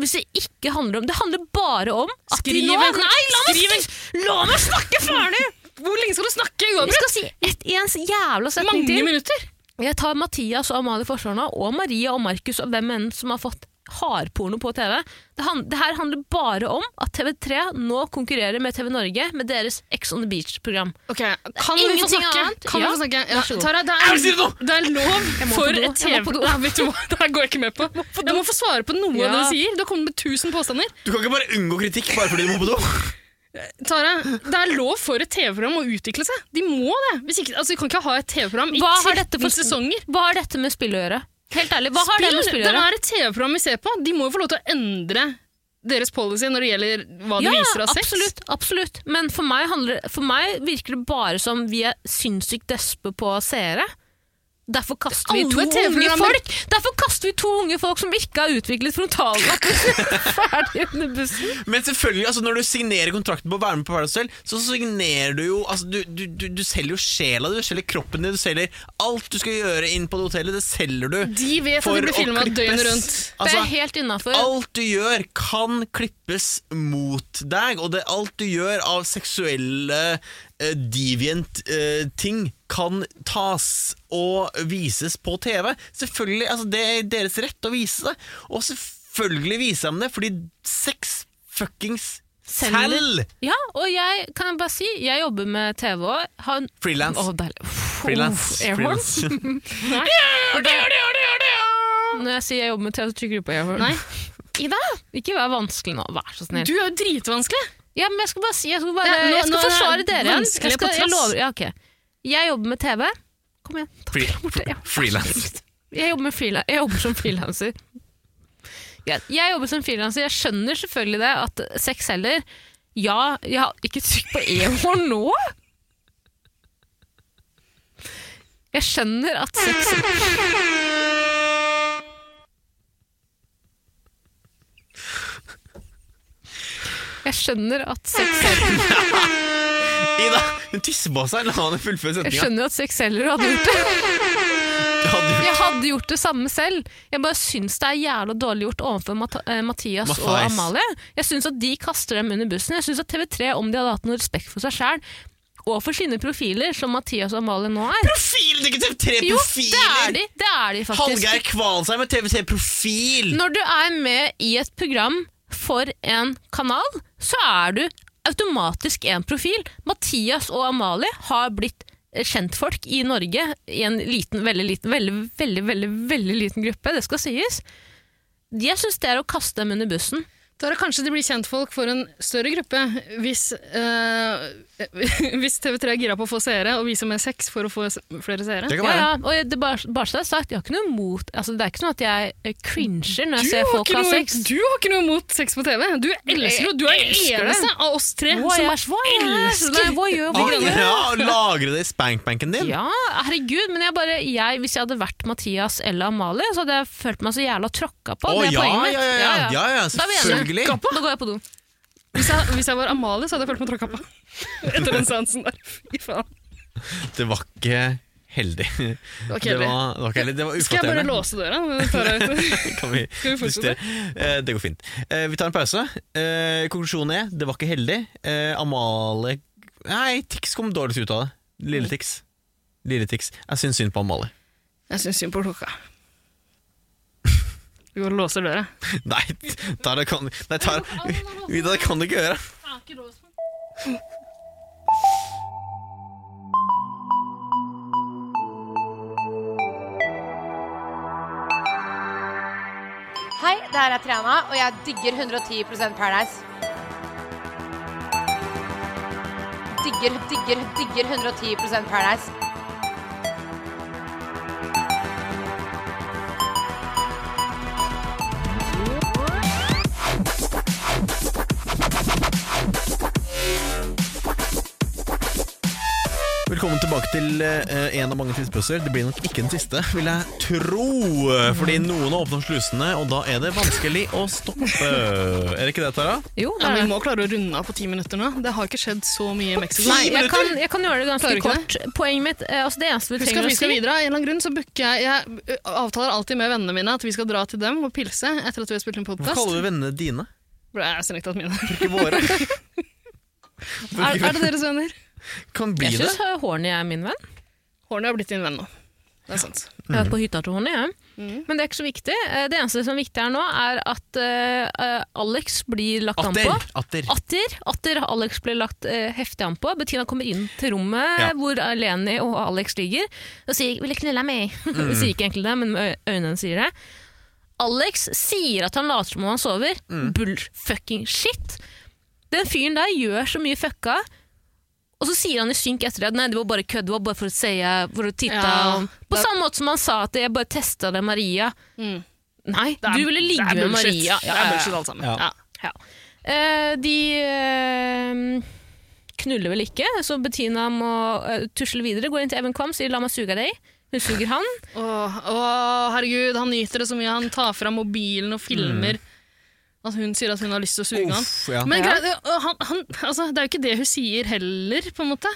Hvis det ikke handler om Det handler bare om at Skriv de nå en- Nei, la meg, skriv en- snak- la meg snakke ferdig! Hvor lenge skal du snakke? Vi uavbrutt? skal si ett i en jævla setning Mange til. minutter! Jeg tar Mathias og Amalie Forsvarna og Maria og Markus og hvem enn som har fått hardporno på TV. Det, han, det her handler bare om at TV3 nå konkurrerer med TV Norge med deres Ex on the Beach-program. Ok, Kan vi få ingenting snakke? annet. Kan vi Ja, få snakke? vær så god. Tara, det Jeg vil si det er, nå! det er lov må for på do. et TV... Jeg må på do. (laughs) Nei, vet du hva? Det her går jeg ikke med på. Jeg må få svare på noe av det Ja. du sier. Du har kommet med 1000 påstander. Du kan ikke bare unngå kritikk bare fordi du må på do. Tara, det er lov for et TV-program å utvikle seg. De må det. Hvis ikke, altså, vi kan ikke ha et TV-program i Hva har 13 dette for- sesonger. Hva har dette med spill å gjøre? Helt ærlig, hva har det med spill å det gjøre? er et TV-program vi ser på. De må jo få lov til å endre deres policy når det gjelder hva de Ja, viser av sex. absolutt, absolutt. Men for meg, handler, for meg virker det bare som vi er sinnssykt despe på seere. Derfor kaster vi Alle to unge TV-programmer. folk Derfor kaster vi to unge folk som ikke har utviklet frontallappen (laughs) ferdig under bussen. Men selvfølgelig, altså når du signerer kontrakten på å være med på Paradise Hotel, så signerer du jo altså du, du, du, du selger jo sjela di, du selger kroppen din, du selger alt du skal gjøre inn på det hotellet, det selger du. De vet For at de blir å filma døgnet klippes. rundt. det Altså, er helt innafor. Alt du gjør kan klippes mot deg, og det, alt du gjør av seksuelle eh, deviant eh, ting kan tas og vises på TV. Selvfølgelig, altså Det er deres rett å vise det, og selvfølgelig viser de det, fordi sex fuckings Selger. selg! Ja, og jeg kan jeg bare si, jeg jobber med TV òg. Har en Frilans. Å, deilig. Uff, Frilans. airhorn. Frilans. (laughs) Nei. Når jeg sier jeg jobber med TV, så trykker du på airhorn. Nei. Ida, ikke vær vanskelig nå. Vær så snill. Du er jo dritvanskelig. Ja, men jeg skal bare si Jeg skal, bare, Nei, nå- jeg skal nå er det forsvare dere igjen. vanskelig Jeg, skal, på jeg, trass. lover, ja, ok. jeg jobber med TV. Kom igjen. ta Fri- dere bort det, ja. Frilans. Jeg jobber, med frila- jeg jobber som frilanser. Jeg, jeg jobber som frilanser. Jeg skjønner selvfølgelig det at sex selger. Ja, jeg har ikke trykk på e-hår nå! Jeg skjønner at sex Jeg skjønner at sex selger. Ida, hun tisser på seg. La henne fullføre Jeg setninga. skjønner at sex selger og hadde gjort det. Ja, Jeg hadde gjort det samme selv. Jeg bare syns det er jævla dårlig gjort overfor Mat eh, Mathias og Mathias. Amalie. Jeg syns at de kaster dem under bussen. Jeg syns at TV3, om de hadde hatt noe respekt for seg sjæl, og for sine profiler, som Mathias og Amalie nå du er Profil! Du er ikke TV3-profiler! Jo, det er de, det er de Hallgeir faktisk. Kvalsheim er TV3-profil! Når du er med i et program for en kanal, så er du automatisk en profil. Mathias og Amalie har blitt eh, kjentfolk i Norge i en liten, veldig liten, veldig, veldig, veldig, veldig liten gruppe, det skal sies. Jeg syns det er å kaste dem under bussen. Da er det kanskje de blir kjentfolk for en større gruppe hvis, eh, (laughs) hvis TV3 er gira på å få seere og viser mer sex for å få s- flere seere. Det kan Ja, være. ja, og jeg- det bare, bare så det er sagt, jeg har ikke noe imot altså, Det er ikke sånn at jeg eh, cringer når jeg Du ser har, folk ikke ha noe, sex. du har ikke noe imot sex på TV. Du elsker det. Du er elsker den det. eneste av oss tre som Voyeur, er voyeur. elsker. Nei, voyeur, Ah, voyeur. ja, lagre det i spankbanken din. Ja, herregud, men jeg bare, jeg, hvis jeg hadde vært Mathias eller Amalie, så hadde jeg følt meg så jævla tråkka på. Å det er ja, poenget ja, mitt. ja, ja, ja, ja, Da er vi enige. selvfølgelig. Tråkka på. Da går jeg på do. Hvis jeg, hvis jeg var Amalie, så hadde jeg følt meg tråkka på. (laughs) Etter den seansen der. Fy faen. Det var ikke heldig. Det (laughs) var Det kjedelig. var, det var ikke heldig, det var Skal jeg bare ufatterende. låse døra? Tara, vet du? (laughs) Kan vi Skal vi fortsette? justere? Eh, det går fint. Eh, vi tar en pause. Eh, konklusjonen er det var ikke heldig. Eh, Amalie Nei, Tix kom dårligst ut av det. Lille Tix. Lille Tix. Jeg syns synd på Amalie. (laughs) (laughs) Jeg syns synd på klokka. Du går og låser døra. Nei, Tara det kan Nei, Tara Vidar, det kan du ikke gjøre. Hei, det her er Triana, og jeg digger 110 Paradise. Digger, digger, digger 110 Paradise. Velkommen tilbake til eh, en av mange fristbøsser. Det blir nok ikke den siste, vil jeg tro. Eh, Fordi noen har åpnet slusene, og da er det vanskelig å stoppe. Er det ikke det, Tara? Jo, det Ja, er men vi det. må klare å runde av på ti minutter nå. Det har ikke skjedd så mye i Mexico. Nei, jeg jeg kan, jeg kan gjøre det Klarer ganske du ikke kort. Poenget mitt eh, altså Det eneste vi Husk at trenger å vi skal si videre. Av en eller annen grunn så booker jeg Jeg ø, avtaler alltid med vennene mine at vi skal dra til dem og pilse etter at vi har spilt en Hva podkast. kaller vi vennene dine? Ble jeg selektet mine? Ikke våre. (laughs) Er, er det deres venner? Kan bli Jeg det. syns Horny er min venn. Horny har blitt din venn nå. Det er sant. Jeg har vært på hytta til Horny, jeg. Men det er ikke så viktig. Eh, Det eneste som er viktig her nå, er at eh, eh, Alex blir lagt an på. Atter. Atter. Atter, atter har Alex blir lagt eh, heftig an på. Bettina kommer inn til rommet Ja. hvor Leni og Alex ligger og sier 'vil du knulle meg'? (laughs) Hun sier ikke egentlig det, men med ø- øynene sier det. Alex sier at han later som om han sover. Bull fucking shit! Den fyren der gjør så mye fucka. Og så sier han i synk etter det at nei, det var bare kødd, det var bare for å se, for å titte. Ja, om- På det- samme måte som han sa at jeg bare testa det Maria. Mm. Nei, Det er- du ville ligge det er med bullshit. Maria. Det er bullshit alt sammen. Ja. Ja. Ja. Eh, de eh, knuller vel ikke, så Bettina må eh, tusle videre. Går inn til Even Kvam sier 'la meg suge deg'. Hun suger han. Åh, åh, herregud, han nyter det så mye. Han tar fra mobilen og filmer at hun sier at hun har lyst til å suge han. Uff, ja. Men Ja. greit, øh, han, han, altså, det er jo ikke det hun sier heller, på en måte.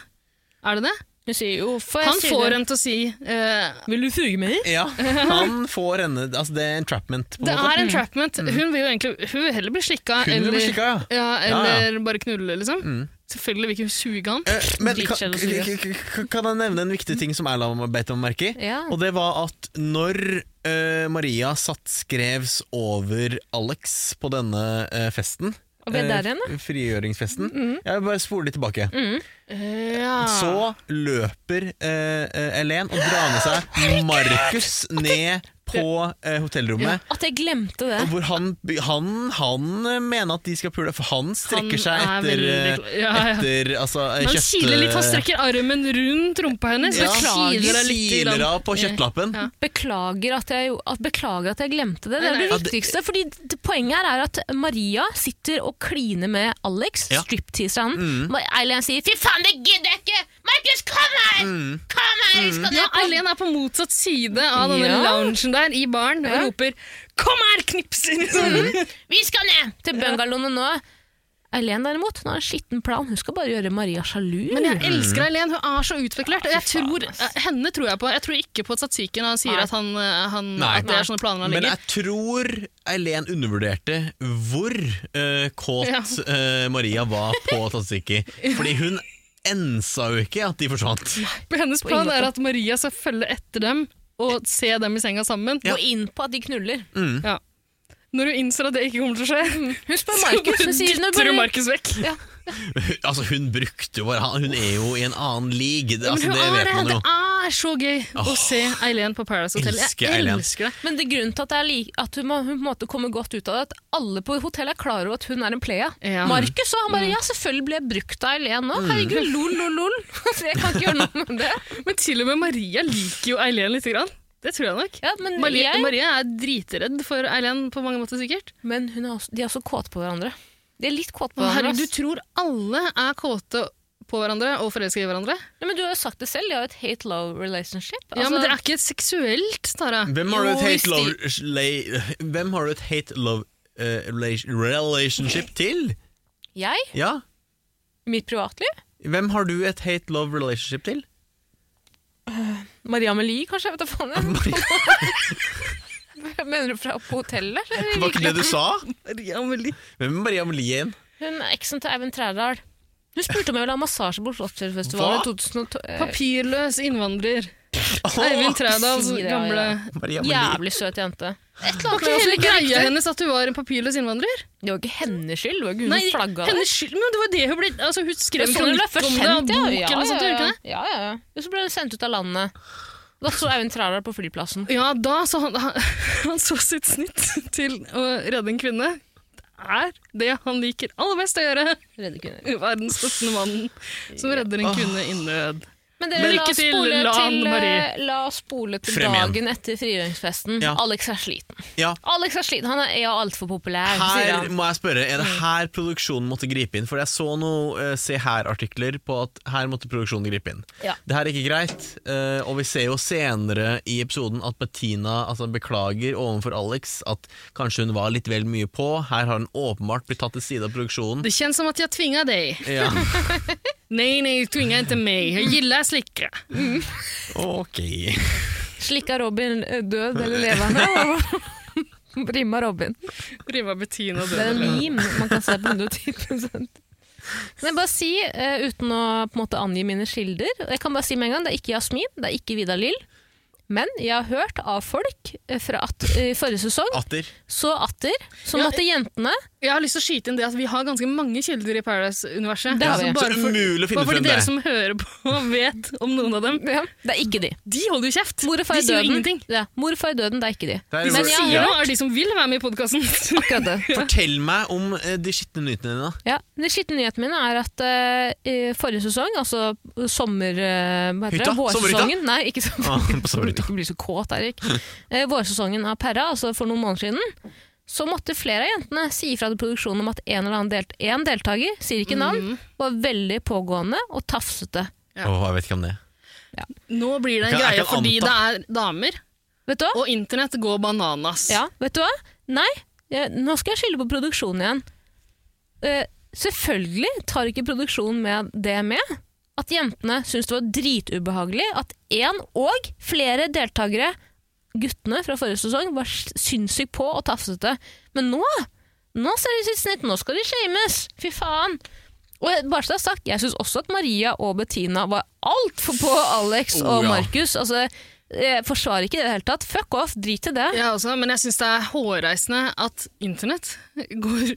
Er det det? Hun sier jo Han får henne til å si eh, 'Vil du suge mer?' ja. Han får henne Altså, det er entrapment, på en Det måte. er entrapment. Hun vil jo egentlig hun vil heller bli slikka Mm. Hun vil eller, bli slikka, ja. ja. Mm. eller bare knulle, liksom. Selvfølgelig vil ikke hun suge han. Eh, Men kan, Dritkjedelig å si k- k- kan jeg nevne en viktig ting som Erland beit meg merke i? Ja. Og det var at når eh, Maria satt skrevs over Alex på denne eh, festen Og vi er der igjen, da. eh, frigjøringsfesten. Jeg vil bare spole litt tilbake. Ja. Eh, Så løper eh, eh, Elen og drar med seg Markus ned på eh, hotellrommet. At jeg glemte det. Og hvor han, han, han eh, mener at de skal pule, for han strekker seg er etter, veldig eh, klar. Ja, ja. etter altså, eh, Han kjøtt- kiler litt, han strekker armen rundt rumpa hennes. Ja, og kiler deg litt i kiler land. av på kjøttlappen. Ja. Beklager at jeg, at, beklager at jeg glemte det. Det er Nei, det nei. viktigste. Fordi det, poenget her er at Maria sitter og kliner med Alex, Ja. stripteaser han. Ma- Eileen sier 'fy faen, det gidder jeg ikke'! Markus, kom her! Kom her! vi Skal Mm. Ja, dra på Eileen er på motsatt side av denne Ja. loungen der i baren og roper 'kom her, (laughs) knipser'! Vi skal ned til bungalowen nå. Eileen derimot, hun har en skitten plan. Hun skal bare gjøre Maria sjalu. Men jeg elsker Eileen, hun er så utspekulert. og Jeg Fy faen, tror, ass. henne tror jeg på. Jeg tror ikke på Tsatsiken når han sier Nei. at, han, eh, han, Nei. at det er sånne planer han Men legger. jeg tror Eileen undervurderte hvor eh, kåt eh, Maria var på (laughs) Tatsiki. Fordi hun ensa jo ikke at de forsvant. Hennes ingen plan er at Maria skal følge etter dem og se dem i senga sammen. Gå inn på at de knuller. Ja. Når hun innser at det ikke kommer til å skje, Hun spør så Markus, bare hun sier nå dytter hun bare Markus vekk. altså, hun brukte jo bare han. Hun er jo i en annen league. Det, Men altså, hun det er vet det, man det jo. er så gøy å Åh. se Eileen på Paradise Hotel. Elsker Jeg Eileen. elsker det. men det grunnen til at, det er like, at hun, må, hun på en måte kommer godt ut av det, at alle på hotellet er klar over at hun er en playa. Ja. Mm. Markus og han bare Ja, selvfølgelig ble jeg brukt av Eileen nå. Herregud, lol, lol, lol. (laughs) jeg kan ikke gjøre noe med det. Men til og med Maria liker jo Eileen litt. Grann. Det tror jeg nok. Ja, men, Maria, jeg, Maria er dritredd for Eileen på mange måter, sikkert. men hun er også, de er også kåte på hverandre. De er litt kåte på Å, herregud, hverandre. du ass. tror alle er kåte på hverandre og forelska i hverandre? Nei, men du har jo sagt det selv, de har jo et hate-love relationship. ja, Altså- Men det er ikke seksuelt, Tara. Hvem har du et Jo, hvis hate de- love, sla- Hvem har du et hate love eh, relation- relationship til? Jeg? Ja. I mitt privatliv? Hvem har du et hate love relationship til? Maria Amelie, kanskje? Jeg vet da faen. jeg. (laughs) Mener du fra på hotellet? eller? Var ikke det du sa? Maria Amelie. Hvem er Maria Amelie igjen? Hun er eksen til Eivind Trærdal. Hun spurte om jeg ville ha massasje på Slottsfjellfestivalen Hva? i 2012. Eh, Papirløs innvandrer. Eivind Trædals si det, gamle Maria Amelie. Jævlig søt jente. Et eller Var annet ikke med hele oss, ikke greia riktig. hennes at hun var en papirløs innvandrer? Det var ikke hennes skyld. Det var ikke hun Nei, som flagga det. hennes skyld, men det var det hun ble altså, Hun Det skrev var en sånn hun ble kronikk først om det, sendt, boken ja. og Ja, sånt, gjorde ja, hun ikke det? ja. ja, ja. Og så ble hun sendt ut av landet. Da så Eivind Trærdal på flyplassen. Ja, da så han, (laughs) han, han så sitt snitt til å redde en kvinne. Det er det han liker aller best å gjøre. Redde kvinner. Verdens støttende mann som redder en kvinne i nød. Men dere, Men la, lykke oss til, spole Lan til, eh, Marie. la oss spole til Frem igjen. dagen etter frigjøringsfesten. Ja. Alex er sliten. Ja. Alex er sliten, Han er ja, altfor populær, sier Her han. må jeg spørre, Er det Mm. her produksjonen måtte gripe inn? For jeg så noen Se her-artikler på at her måtte produksjonen gripe inn. Ja. Det her er ikke greit. eh, og vi ser jo senere i episoden at Bettina altså, beklager overfor Alex at kanskje hun var litt vel mye på. Her har hun åpenbart blitt tatt til side av produksjonen. Det kjennes som at jeg tvinga deg. (laughs) Ja. Nei, nei, du tvinga ikke meg. Jeg gillar slickra. Ok. Slikka Robin eh, død eller levende? (laughs) Rimma Robin. Riva Bettina Det er en meme man kan se på 110 Men jeg bare si, eh, uten å på en måte angi mine kilder og Jeg kan bare si med en gang, det er ikke Jasmin, det er ikke Vidar Lill. Men jeg har hørt av folk eh, fra at, eh, forrige sesong, Atter. så atter, så Ja, måtte jentene Jeg har lyst til å skyte inn det at vi har ganske mange kilder i Paradise-universet. Det har Så vi. Så bare for, umulig å bare finne fordi frem det. dere som hører på, vet om noen av dem. Det er ikke de. De holder jo kjeft! Mor og far de i sier jo døden. ingenting. Ja, mor og far i døden, det er ikke de. Det er De jo- som jeg sier har noe, er de som vil være med i podkasten. (laughs) Akkurat det. Fortell meg om eh, de skitne nyhetene dine. Ja, Den skitne nyheten min er at eh, i forrige sesong, altså sommer... eh, hva heter Hytta? det? Vårsesongen. Nei, ikke sommer. Ah, på sommerhytta. (laughs) Ikke bli så kåt, Erik. Eh, vårsesongen av Perra, altså for noen måneder siden, så måtte flere av jentene si ifra til produksjonen om at en eller annen delt en deltaker, sier ikke navn, Mhm. var veldig pågående og tafsete. Ja. Åh, jeg vet ikke om det. Nå blir det Jeg en kan- jeg greie kan fordi det anta. er damer, Vet du hva? og internett går bananas. Ja, vet du hva? Nei, eh, nå skal jeg skylde på produksjonen igjen. Eh, selvfølgelig tar ikke produksjonen med det med. At jentene syns det var dritubehagelig at én og flere deltakere, guttene fra forrige sesong, var s- sinnssykt på og tafsete. Men nå, nå ser de sitt snitt, nå skal de shames! Fy faen! Og jeg- bare så det er sagt, jeg syns også at Maria og Bettina var altfor på Alex Oh, og ja. Markus. Altså, jeg forsvarer ikke det i det hele tatt. Fuck off, drit i det. Jeg også, altså, men jeg syns det er hårreisende at internett går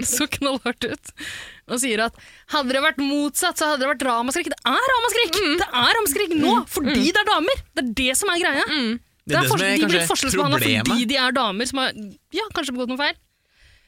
(laughs) så knallhardt ut og sier at hadde det vært motsatt, så hadde det vært ramaskrik. Det er ramaskrik! Det er ramaskrik nå, fordi det er damer! Det er det som er greia. Det er som forskjell- de blir kanskje forskjellsbehandla problemet. fordi de er damer som har ja, kanskje begått noe feil.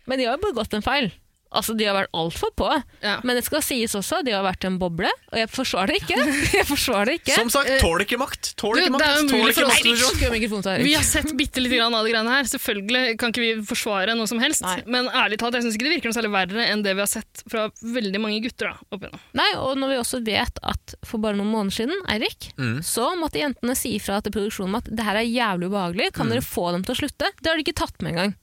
Men de har jo begått en feil. Altså, De har vært altfor på. Ja. Men det skal sies også, de har vært en boble, og jeg forsvarer det (laughs) ikke. Jeg forsvarer det ikke. Som sagt, tåler ikke makt! Eh, du, Tåler ikke det makt! er jo Tåler mulig for ikke oss makt! til å se. Skru av mikrofonen, Tariq. Vi har sett bitte lite grann av det greiene her. Selvfølgelig kan ikke vi forsvare noe som helst, Nei. men ærlig talt, jeg syns ikke det virker noe særlig verre enn det vi har sett fra veldig mange gutter. da, opp igjennom. Nei, og når vi også vet at for bare noen måneder siden, Eirik, Mm. så måtte jentene si ifra til produksjonen om at det her er jævlig ubehagelig, Mm. kan dere få dem til å slutte? Det har de ikke tatt med engang.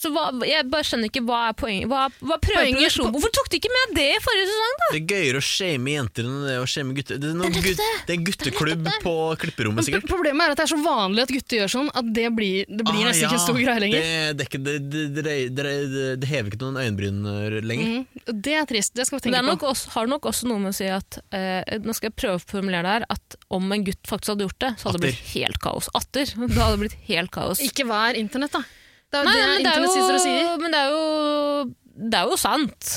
Så hva, jeg bare skjønner ikke hva er poenget. Hva, hva prøver Poenget- produksjonen? Hvorfor tok de ikke med det i forrige sesong, da? Det er gøyere å shame jenter enn det er å shame gutter. Det er, noen Det er nettopp gut, det er gutteklubb på klipperommet, Men sikkert. pro- problemet er at det er så vanlig at gutter gjør sånn, at det blir, (laughs) det blir Ah, nesten ikke ja. en stor greie lenger. Det, det, er ikke- det, det, det, det, det hever ikke noen øyenbryn øh, lenger. Mm, og det er trist. Det skal vi Men tenke det er nok på. også, har nok også noe med å si at eh, Nå skal jeg prøve å formulere det her At om en gutt faktisk hadde gjort det, så hadde det blitt helt kaos. Atter! (laughs) Da hadde det blitt helt kaos. Ikke vær internett, da. Det er jo Nei, det men det er internett sier og sier. jo, men det er jo Det er jo sant.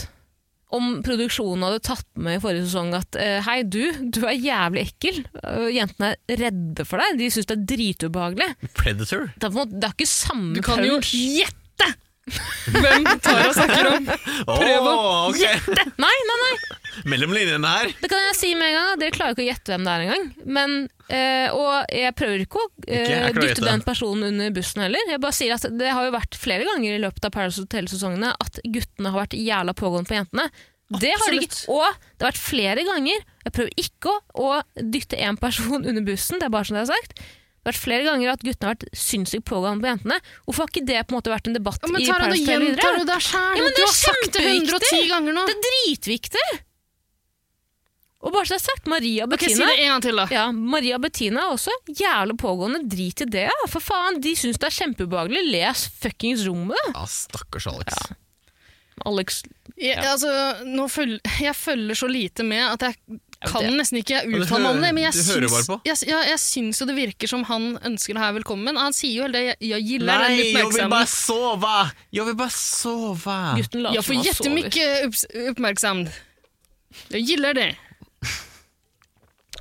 Om produksjonen hadde tatt med i forrige sesong at eh, hei, du, du er jævlig ekkel. Eh, jentene er redde for deg. De syns det er dritubehagelig. Mm. Predator. Det er, på en måte, det er ikke samme Du kan jo punch. gjette hvem Tara snakker om. Prøv Åh, ok. (laughs) Nei, nei, nei. Mellom linjene her. Det kan jeg si med en gang. at Dere klarer ikke å gjette hvem det er engang. Men, eh, og jeg prøver ikke å eh, Ikke? Jeg klarer å dytte gjette. den personen under bussen heller. Jeg bare sier at Det har jo vært flere ganger i løpet av Paradise Hotel-sesongene at guttene har vært jævla pågående på jentene. Det har de ikke. Absolutt. Og det har vært flere ganger. Jeg prøver ikke å, å dytte én person under bussen. Det er bare som det er sagt. Det har vært flere ganger at guttene har vært sinnssykt pågående på jentene. Hvorfor har ikke det på en måte vært en (laughs) debatt Ja, men i Tara, nå Paradise Hotel gjentar du videre? deg sjæl. Ja, men det du er har sagt det 110 kjempeviktig. ganger nå. Det er dritviktig! Og bare så det er sagt, Maria og Ok, Si Bettina det en gang til, da. ja, Maria og Bettina er også jævlig pågående. Drit i det, ja. for faen. De syns det er kjempeubehagelig. Les fuckings rommet, da. Ja, stakkars Alex. Alex. Jeg, altså, nå føl jeg følger så lite med at jeg kan det- nesten ikke du uttale meg om det. Men jeg hører- du hører syns, bare på. jeg, ja, jeg syns jo det virker som han ønsker det her velkommen. Han sier jo hele det. Jeg, jeg gillar den Nei, jeg vil bare oppmerksomheten. sove! Jeg vil bare sove! Gutten later Jeg får jättemycket upps- oppmerksomhet. Jeg gillar det.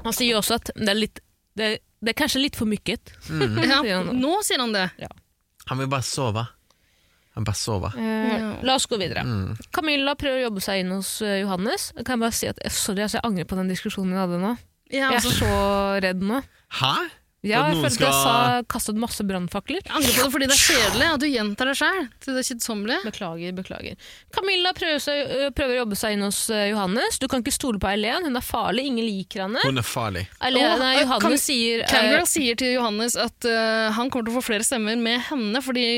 Han sier jo også at det er litt Det, det er Mm. (laughs) kanskje litt for mykket. Ja, sier han. nå sier han det. Han vil bare sove. Jeg bare sova. Eh, Ja. La oss gå videre. Mm. Camilla prøver å jobbe seg inn hos eh, Johannes. Jeg kan bare si at eh, Sorry, altså, jeg angrer på den diskusjonen vi hadde nå. Jeg, Jeg er også. så redd nå. Hæ? Ja, At jeg noen følte jeg sa skal- kastet masse brannfakler. jeg angrer på det fordi det er kjedelig at du gjentar deg sjøl til det kjedsommelige. Beklager, beklager. Camilla prøver, seg, ø, prøver å jobbe seg inn hos ø, Johannes. Du kan ikke stole på Eileen, hun er farlig, ingen liker henne. Hun er farlig. Eileen, Åh, nei, ø, Johannes kan- sier ø, Camgirl sier til Johannes at eh, han kommer til å få flere stemmer med henne, fordi,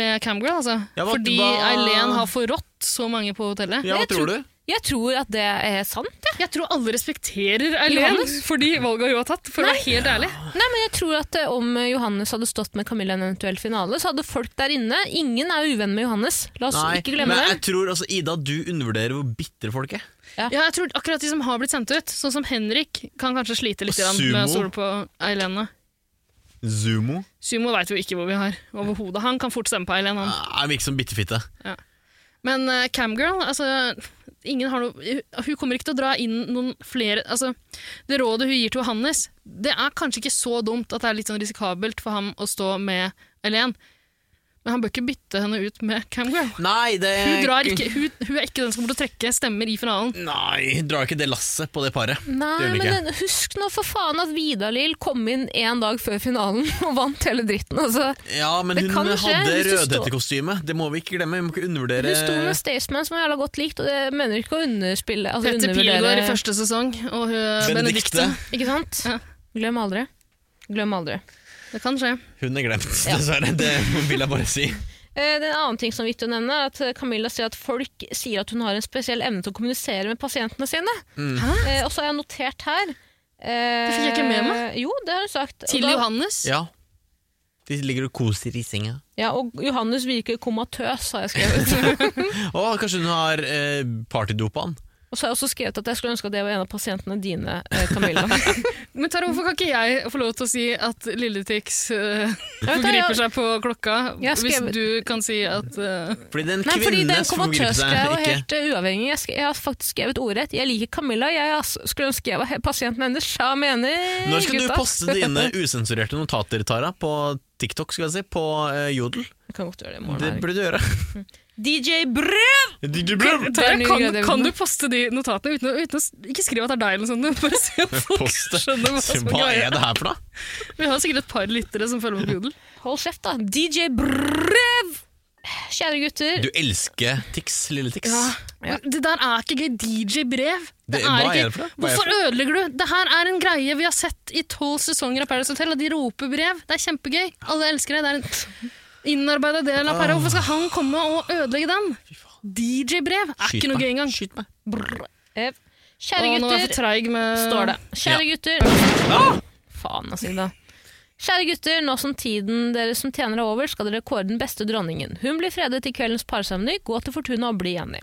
med Camgirl, altså. Ja, hva- fordi hva- Eileen har forrådt så mange på hotellet. Ja, hva Jeg tror- tror du? Jeg tror at det er sant. jeg. Jeg tror alle respekterer Eileen Johannes? fordi valga hun har tatt, for å være helt ærlig. Nei, men jeg tror at ø, Om ø, Johannes hadde stått med Camilla i en eventuell finale, så hadde folk der inne Ingen er jo uvenn med Johannes. La oss ikke glemme men det. jeg tror altså, Ida, du undervurderer hvor bitre folk er. Ja, jeg tror akkurat de som har blitt sendt ut, sånn som Henrik, kan kanskje slite litt Og grann med å Sumo. stole på Eileen. nå. Zumo Sumo veit jo ikke hvor vi har overhodet. Han kan fort stemme på Eileen. Han. er Ah, virker som bitterfitte. Men eh, Camgirl, altså ingen har noe, eh, Hun kommer ikke til å dra inn noen flere altså, Det rådet hun gir til Johannes, det er kanskje ikke så dumt at det er litt sånn risikabelt for ham å stå med Eileen. Men han bør ikke bytte henne ut med Camgirl. Nei, det Hun, drar ikke, hun, hun er ikke den som kommer til å trekke stemmer i finalen. Nei, hun drar ikke det lasset på det paret. Nei, Det gjør den men ikke. den- husk nå for faen at Vidar-Lill kom inn en dag før finalen (laughs) og vant hele dritten. Altså, Ja, men Det hun kan skje hadde hvis du rødhettekostyme. Det må vi ikke glemme. Vi må ikke undervurdere hun sto med Staysman som er jævla godt likt, og det mener ikke å underspille altså, Petter undervurdere- Pilgaard i første sesong og hun, Benedicte. Benedicte. Ikke sant? Ja. Glem aldri. Glem aldri. Det kan skje. Hun er glemt, dessverre. Det vil jeg bare si. Eh, Det er en annen ting som er viktig å nevne, er at eh, Camilla sier at folk sier at hun har en spesiell evne til å kommunisere med pasientene sine. Mm. Eh, og så har jeg notert her eh, Det fikk jeg ikke med meg. Jo, det har hun sagt. Til og, da- Johannes. Ja. De ligger og koser i senga. ja, og Johannes virker komatøs, har jeg skrevet. (laughs) Å, kanskje hun har eh, partydopa han. og så har jeg også skrevet at jeg skulle ønske at det var en av pasientene dine, eh, (laughs) Camilla. Men Tara, hvorfor kan ikke jeg få lov til å si at Lilletix uh, vet det, jeg- forgriper seg på klokka, Jeg hvis skrev- du kan si at eh, Fordi det er en Nei, fordi kvinne den som forgriper seg. komatøsgreia var Ikke. helt eh, uavhengig. Jeg, sk jeg har faktisk skrevet ordrett. Jeg liker Camilla. Jeg ass, skulle ønske jeg var he- pasienten hennes. Sja mener Når skal du gutta. poste dine usensurerte notater, Tara? På TikTok, skal jeg si. På eh, Jodel. Jeg kan godt gjøre det i Det morgen. her. burde du gjøre. DJ Brød! Tara, ny kan, greie, kan du Evelyn. poste de notatene uten å, uten å s- Ikke skrive at det er deg, eller noe sånt, men bare se om folk Poste. skjønner hva som er Hva greia. er det her for noe? Vi har sikkert et par lyttere som følger med (laughs) på Google. Hold kjeft, da. DJ Brev! Kjære gutter. Du elsker Tix, lille Tix. Ja. Det der er ikke gøy. DJ-brev. Det- Det er hva er ikke- det for noe? Hva er det for Hvorfor ødelegger du? Det her er en greie vi har sett i tolv sesonger av Paradise Hotel, og de roper brev. Det er kjempegøy. Alle elsker det. Det er en innarbeida del av Paradise. Hvorfor skal han komme og ødelegge den? DJ-brev er Skyt ikke noe meg. gøy engang. Skyt meg. Brev. Å, Kjære nå er jeg for gutter, treig med står det. Kjære gutter. Faen, altså, Ida. Kjære gutter, nå som tiden dere som tjener er over, skal dere kåre den beste dronningen. Hun blir fredet i kveldens parseremoni. Gå til Fortuna og bli enig.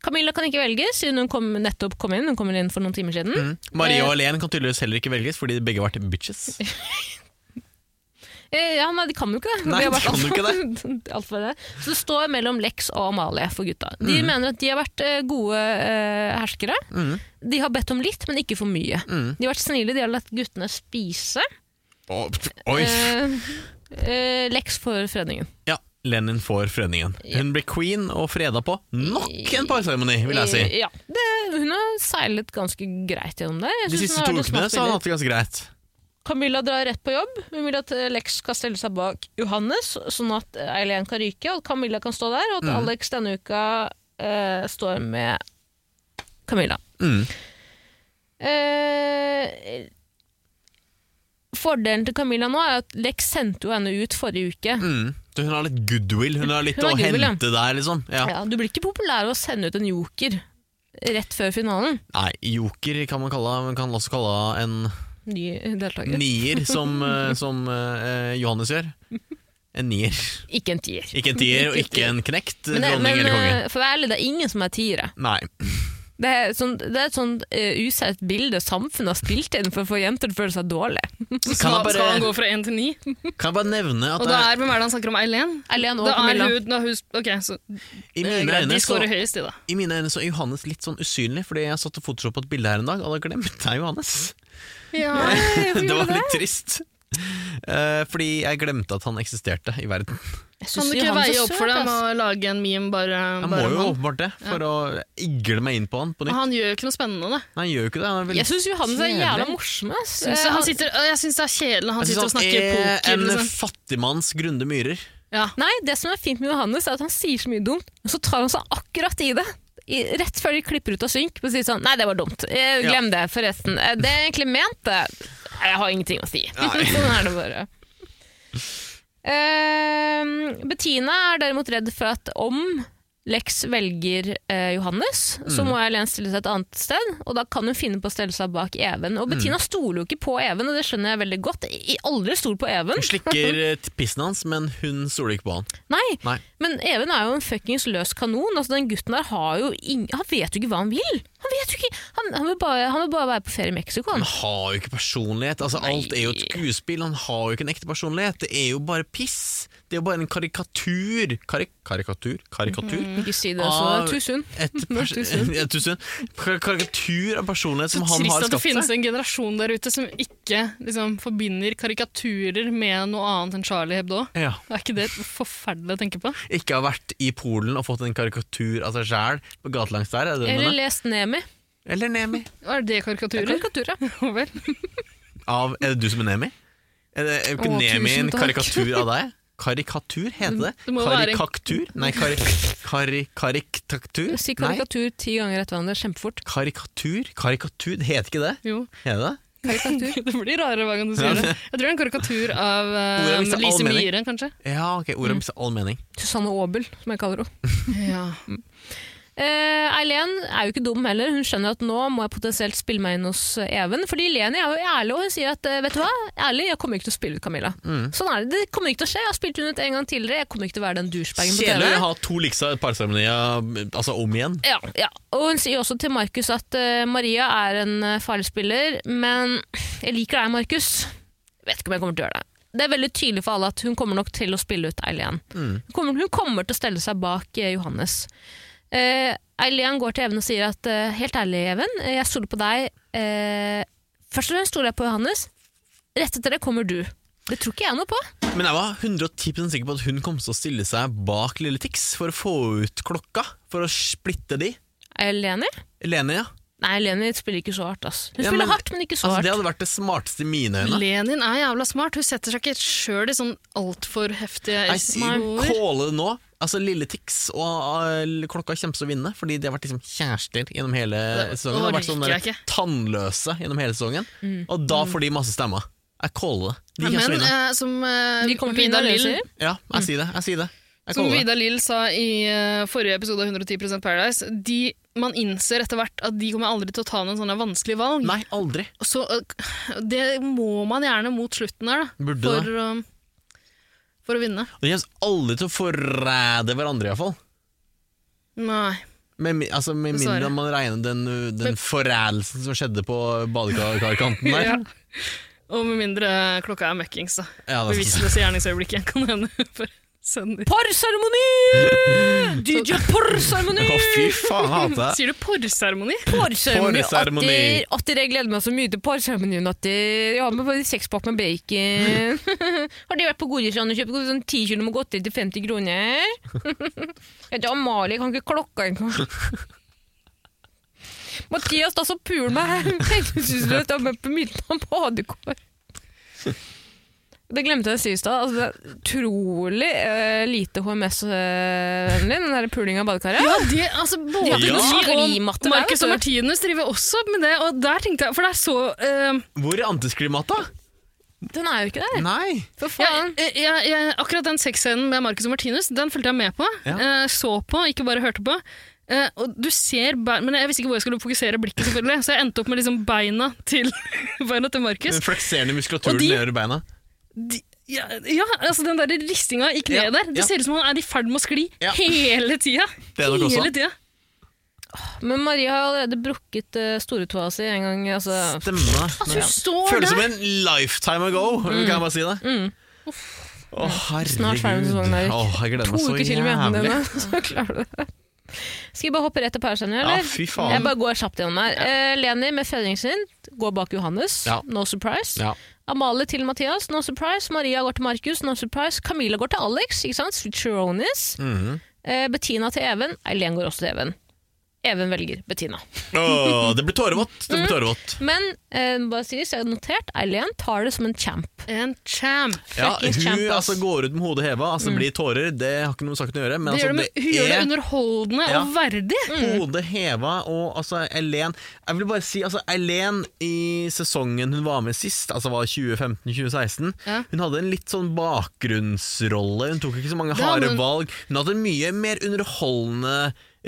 Camilla kan ikke velge, siden hun kom, nettopp kom inn. Hun kommer inn for noen timer siden. Mm. Marie og Helen kan tydeligvis heller ikke velges, fordi de begge har vært bitches. Eh, ja, nei, de kan jo ikke det. Nei, de har de vært kan jo det. (laughs) Alt for det. Så det står mellom Lex og Amalie for gutta. De Mhm. mener at de har vært eh, gode eh, herskere. De har bedt om litt, men ikke for mye. Mhm. De har vært snille, de har latt guttene spise. Å, pff, Oi! Eh, eh, Lex for fredningen. Ja, Lenin får fredningen. Hun blir queen og freda på nok en parseremoni, vil jeg si. Eh, Ja, det, hun har seilet ganske greit gjennom der. Jeg De synes hun siste har to vært en ukene så har han småspiller. hatt det ganske greit. Camilla drar rett på jobb. Hun vil at eh, Lex skal stelle seg bak Johannes, sånn at eh, Eileen kan ryke, og at Camilla kan stå der, og Mm. at Alex denne uka eh, står med Camilla. Mm. Eh, fordelen til Camilla nå er at Lex sendte jo henne ut forrige uke. Mm. Så hun har litt goodwill. Hun har litt Hun har å goodwill, ja. hente der, liksom. Ja. Ja, du blir ikke populær av å sende ut en joker rett før finalen. Nei, joker kan man kalle Man kan også kalle en Ny deltaker. nier, som, eh, som eh, Johannes gjør. En nier. Ikke en tier. Ikke en tier, og ikke en knekt Men, det- dronning men eller konge. eh, for å være ærlig, det er ingen som er tiere. Nei. Det er, sånn, det er et sånt uh, usaut bilde samfunnet har spilt inn for å få jenter til å føle seg dårlig. Kan Skal, jeg bare- skal han gå fra én til ni? Kan jeg bare nevne at Og da er, hvem er det han snakker om? Eileen? Eileen og Da er Camilla. hun, da er hun Ok, så i det mine er eh, greit. øyne De så scorer høyest, de, da. I mine øyne så er Johannes litt sånn usynlig, fordi jeg satt og photoshoppet (laughs) et bilde her en dag, og da glemte jeg Johannes. Ja, Det var litt trist. Eh, fordi jeg glemte at han eksisterte i verden. Jeg Kan synes du jo ikke han er så veie opp for søt, det med ass. å lage en meme bare, Jeg må bare jo om han? åpenbart det, for å igle meg inn på han på nytt. Han gjør jo ikke noe spennende. da. Nei, han gjør jo ikke det. Han er veldig Jeg syns Johannes er jævla Kjedelig. morsom. ass. Synes Eh, jeg, han- han sitter, øh, jeg syns det er kjedelig han Jeg sitter og synes han snakker er poker. en Liksom. fattigmanns Grunde Myhrer. Ja. Nei, det som er fint med Johannes, er at han sier så mye dumt, men så tar han seg akkurat i det. I, rett før de klipper ut av synk, men sier sånn Nei, det var dumt. Eh, Glem det, forresten. Eh, Det er egentlig ment, det. Nei, Jeg har ingenting å si. (laughs) sånn er det bare. Eh, Bettina er derimot redd for at om Lex velger eh, Johannes, så må Helen stille seg et annet sted, og da kan hun finne på å stelle seg bak Even. Og Bettina stoler jo ikke på Even, og det skjønner jeg veldig godt. I, aldri stol på Even. Hun slikker eh, t- pissen hans, men hun stoler ikke på han. Nei, Nei. men Even er jo en fuckings løs kanon. Altså, den gutten der har jo ing Han vet jo ikke hva han vil! Han vet jo ikke Han, han, vil, bare, han vil bare være på ferie i Mexico. Han Han. har jo ikke personlighet. Altså, alt er jo et skuespill. Han har jo ikke en ekte personlighet. Det er jo bare piss. Det er jo bare en karikatur. Karik karikatur? Karikatur? Mm. Ikke si det Ah, så tusen. Et pers Tusen. (laughs) Ja, tusen. Kar- Karikatur av personlighet Så som han trist har at det skapt finnes seg. en generasjon der ute som ikke liksom, forbinder karikaturer med noe annet enn Charlie Hebdo. Ja. Er ikke det forferdelig å tenke på? Ikke har vært i Polen og fått en karikatur av seg sjæl på gatelangs der. Er det det du Eller mener? lest Nemi. Eller Nemi. Er det karikaturer? Karikatur, ja. Å (laughs) vel. Av, er det du som er Nemi? Er, det, er ikke Å, Nemi en tusen takk. karikatur av deg? Karikatur heter det? Det må jo være en- Karikaktur? Nei, kari, kari, kariktaktur? Si Nei, karikatur ti ganger etter hverandre kjempefort. karikatur? Karikatur, det heter ikke det? Jo. Heter det? Karikatur. (laughs) Det blir rarere hver gang du (laughs) sier det. Jeg tror det er en karikatur av Ordet har eh, mistet all Lise mening. Myhre, kanskje. Ja, ok, ordet mister all mening. Susanne Aabel, som jeg kaller henne. Ja. Eh, Eileen er jo ikke dum heller. Hun skjønner at nå må jeg potensielt spille meg inn hos eh, Even. Fordi Leni er jo ærlig, og hun sier at eh, vet du hva, ærlig, jeg kommer ikke til å spille ut Camilla. Mm. Sånn er det. Det kommer ikke til å skje. Jeg har spilt hun ut en gang tidligere. Jeg kommer ikke til å være den douchebagen på Kjedelig å TV. ha to liksa parseremonier altså om igjen. Ja, ja. Og hun sier også til Markus at eh, Maria er en eh, farlig spiller, men jeg liker deg, Markus. Jeg Vet ikke om jeg kommer til å gjøre det. Det er veldig tydelig for alle at hun kommer nok til å spille ut Eileen. Mm. Hun, kommer, hun kommer til å stelle seg bak eh, Johannes. Eh, Eileen går til Even og sier at eh, helt ærlig, Even, eh, jeg stoler på deg. Eh, først og fremst stoler jeg på Johannes. Rett etter det kommer du. Det tror ikke jeg noe på. Men jeg var 110 sikker på at hun kom til å stille seg bak Lille Tix for å få ut klokka, for å splitte de. Er jeg enig? Lene, ja. Nei, Leni spiller ikke så hardt. ass. Hun Ja, spiller men- hardt, men ikke så Altså, hardt. det hadde vært det smarteste i mine øyne. Lenin er jævla smart. Hun setter seg ikke sjøl i sånn altfor heftige Jeg sier egoer. kåle det nå. Altså Lille Tix og ah, klokka kommer til å vinne, fordi de har vært liksom kjærester gjennom hele Det sesongen. De har vært sånn orker jeg der ikke. Mm. tannløse gjennom hele sesongen. Og da får de masse stemmer. Jeg caller det. De kommer til å Men vinne. eh, som eh, De kommer til å vinne, Vidar det Lill sier. Ja, jeg sier det. Jeg sier det. Jeg Som caller det. Vidar Lill sa i eh, forrige episode av 110 Paradise, de, man innser etter hvert at de kommer aldri til å ta noen sånne vanskelige valg. Nei, aldri. Så eh, det må man gjerne mot slutten her, da. Burde For, eh, for å vinne. Og de kommer aldri til å forræde hverandre, iallfall. Nei. Med, mi- altså, med Dessverre. mindre man regner den, uh, den forrædelsen som skjedde på badekarkanten der. Ja. Og med mindre eh, klokka er møkkings, da. Ja, altså. det er sånn- sant. Bevisstløse gjerningsøyeblikket kan hende for sender. Porrseremoni! (laughs) DJ Porrseremoni! (laughs) Å, fy faen, jeg (laughs) hater det. Sier du porrseremoni? Porrseremoni. Porrseremoni. Atter, atter, jeg gleder meg så mye til porrseremonien, atter. Jeg har med bare sekspakk med bacon. (laughs) har de vært på Godisland og kjøpt sånn 10 kilo med godteri til 50 kroner? (laughs) Jeg heter Amalie, jeg kan ikke klokka engang. (laughs) Mathias, da så pul meg (laughs) pengesysløst av meg på midten av badekår. Det glemte jeg å si i stad. Altså, det er utrolig eh, lite HMS-vennlig, eh, den der pulinga av badekaret. Ja, det, altså, både har ikke noe de skrimatte og der, Marcus vet og du. Martinus driver også med det, og der tenkte jeg For det er så eh, Hvor er antisklimata? Den er jo ikke der. Nei. For jeg, faen. jeg, jeg, Akkurat den sexscenen med Marcus og Martinus, den fulgte jeg med på. Ja. eh, så på, ikke bare hørte på. Eh, og du ser bæ- Men jeg visste ikke hvor jeg skulle fokusere blikket, selvfølgelig, så jeg endte opp med liksom beina til, (laughs) beina til Marcus. Den flekserende muskulaturen Og de- nedover beina. De, ja, ja, altså den der ristinga i kneet Ja, der. Det ja. ser ut som han er i ferd med å skli Ja. hele tida. Det er nok også Hele han. tida. Men Maria har allerede brukket uh, storetåa si en gang. Altså. Stemme. Du står Føles der! som en lifetime ago, kan jeg bare si det. Å, herregud. Snart ferdig med sesongen, Erik. Å, jeg gleder To meg så uker til med jævlig. (laughs) hendene dine, så klarer du det. Skal vi bare hoppe rett til pærestjerner, Ja, eller? fy faen. Jeg bare går kjapt gjennom her. Eh, Leni med Fredriksen går bak Johannes. Ja. No surprise. Ja. Amalie til Mathias. No surprise. Maria går til Markus. No surprise. Camilla går til Alex. ikke sant? Switcheronis. Mhm. Eh, Bettina til Even. Eileen går også til Even. Even velger Bettina. Åh, det blir tårevått! Det blir tårevått. Men eh, bare sies, jeg har notert, Eileen tar det som en champ. En champ. Ja, Fucking champ, hun ass. altså, går ut med hodet heva, altså, det blir tårer. Det har ikke noe med saken å gjøre. Men det gjør det, altså, med, hun gjør det er underholdende Ja. og verdig. Hodet heva og altså Eileen Jeg vil bare si altså Eileen i sesongen hun var med sist, altså var 2015-2016, Ja. hun hadde en litt sånn bakgrunnsrolle. Hun tok ikke så mange Det hadde harde hun. valg. Hun hadde en mye mer underholdende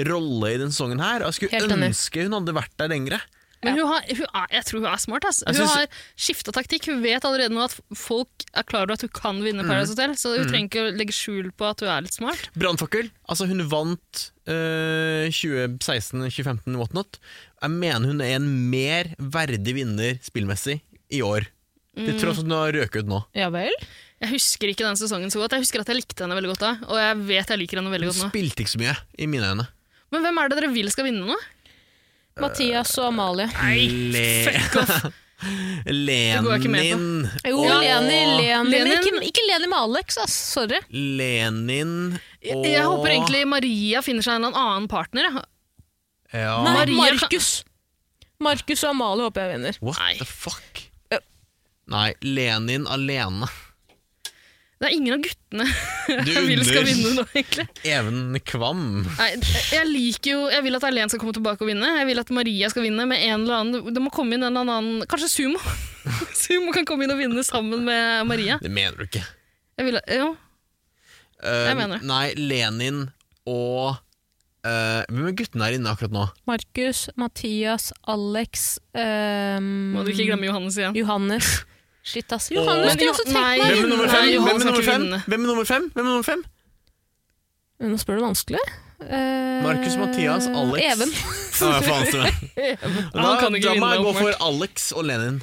rolle i denne sesongen her. Og jeg skulle Helt enig. ønske hun hadde vært der lengre. Men hun har, hun er, jeg tror hun er smart. Ass. Jeg Hun synes- har skifta taktikk. Hun vet allerede nå at folk er klar over at hun kan Mhm. vinne Paradise Hotel, så hun trenger ikke å legge skjul på at hun er litt smart. Brannfakkel. Altså, hun vant eh, 2016, 2015, whatnot. Jeg mener hun er en mer verdig vinner spillmessig i år. Til Mm. tross for at hun har røket ut nå. Ja vel? Jeg husker ikke den sesongen så godt. Jeg husker at jeg likte henne veldig godt da, og jeg vet jeg liker henne veldig Hun godt nå. spilte ikke så mye, i mine øyne. Men hvem er det dere vil skal vinne nå? Mathias Eh, og Amalie. Le Fuck off. går jeg ikke med Lenin Jo, og Leni, Leni. Men Lenin. ikke, ikke Leni med Alex, ass. Sorry. Lenin og Jeg håper egentlig Maria finner seg en eller annen partner. jeg. ja. Nei, Maria kan- Markus. Markus og Amalie håper jeg vinner. What Nei. the fuck? Ja. Nei, Lenin alene. Det er ingen av guttene Du (laughs) jeg vil skal under. vinne nå, egentlig. Even Kvam. Nei, jeg liker jo Jeg vil at Erlend skal komme tilbake og vinne. Jeg vil at Maria skal vinne med en eller annen Det må komme inn en eller annen Kanskje Sumo? (laughs) Sumo kan komme inn og vinne sammen med Maria. Det mener du ikke. Jeg vil, at- jo. Eh, Jeg mener det. Nei, Lenin og eh, Hvem er guttene her inne akkurat nå? Markus, Mathias, Alex ehm, Må du ikke glemme Johannes igjen. Johannes. Shit, ass. Johannes Men kunne Jo- jeg også nei. tenkt meg. Hvem er nummer fem? Nei, Johan Hvem er skal nummer ikke fem? vinne. Hvem er nummer fem? Hvem er nummer fem? Nå spør du vanskelig. Eh, Markus, Mathias, Alex. (laughs) Even. Ja, (laughs) faen, stemmer. (laughs) da, Han kan ikke da må jeg vinne, gå for åpenbart. Alex og Lenin.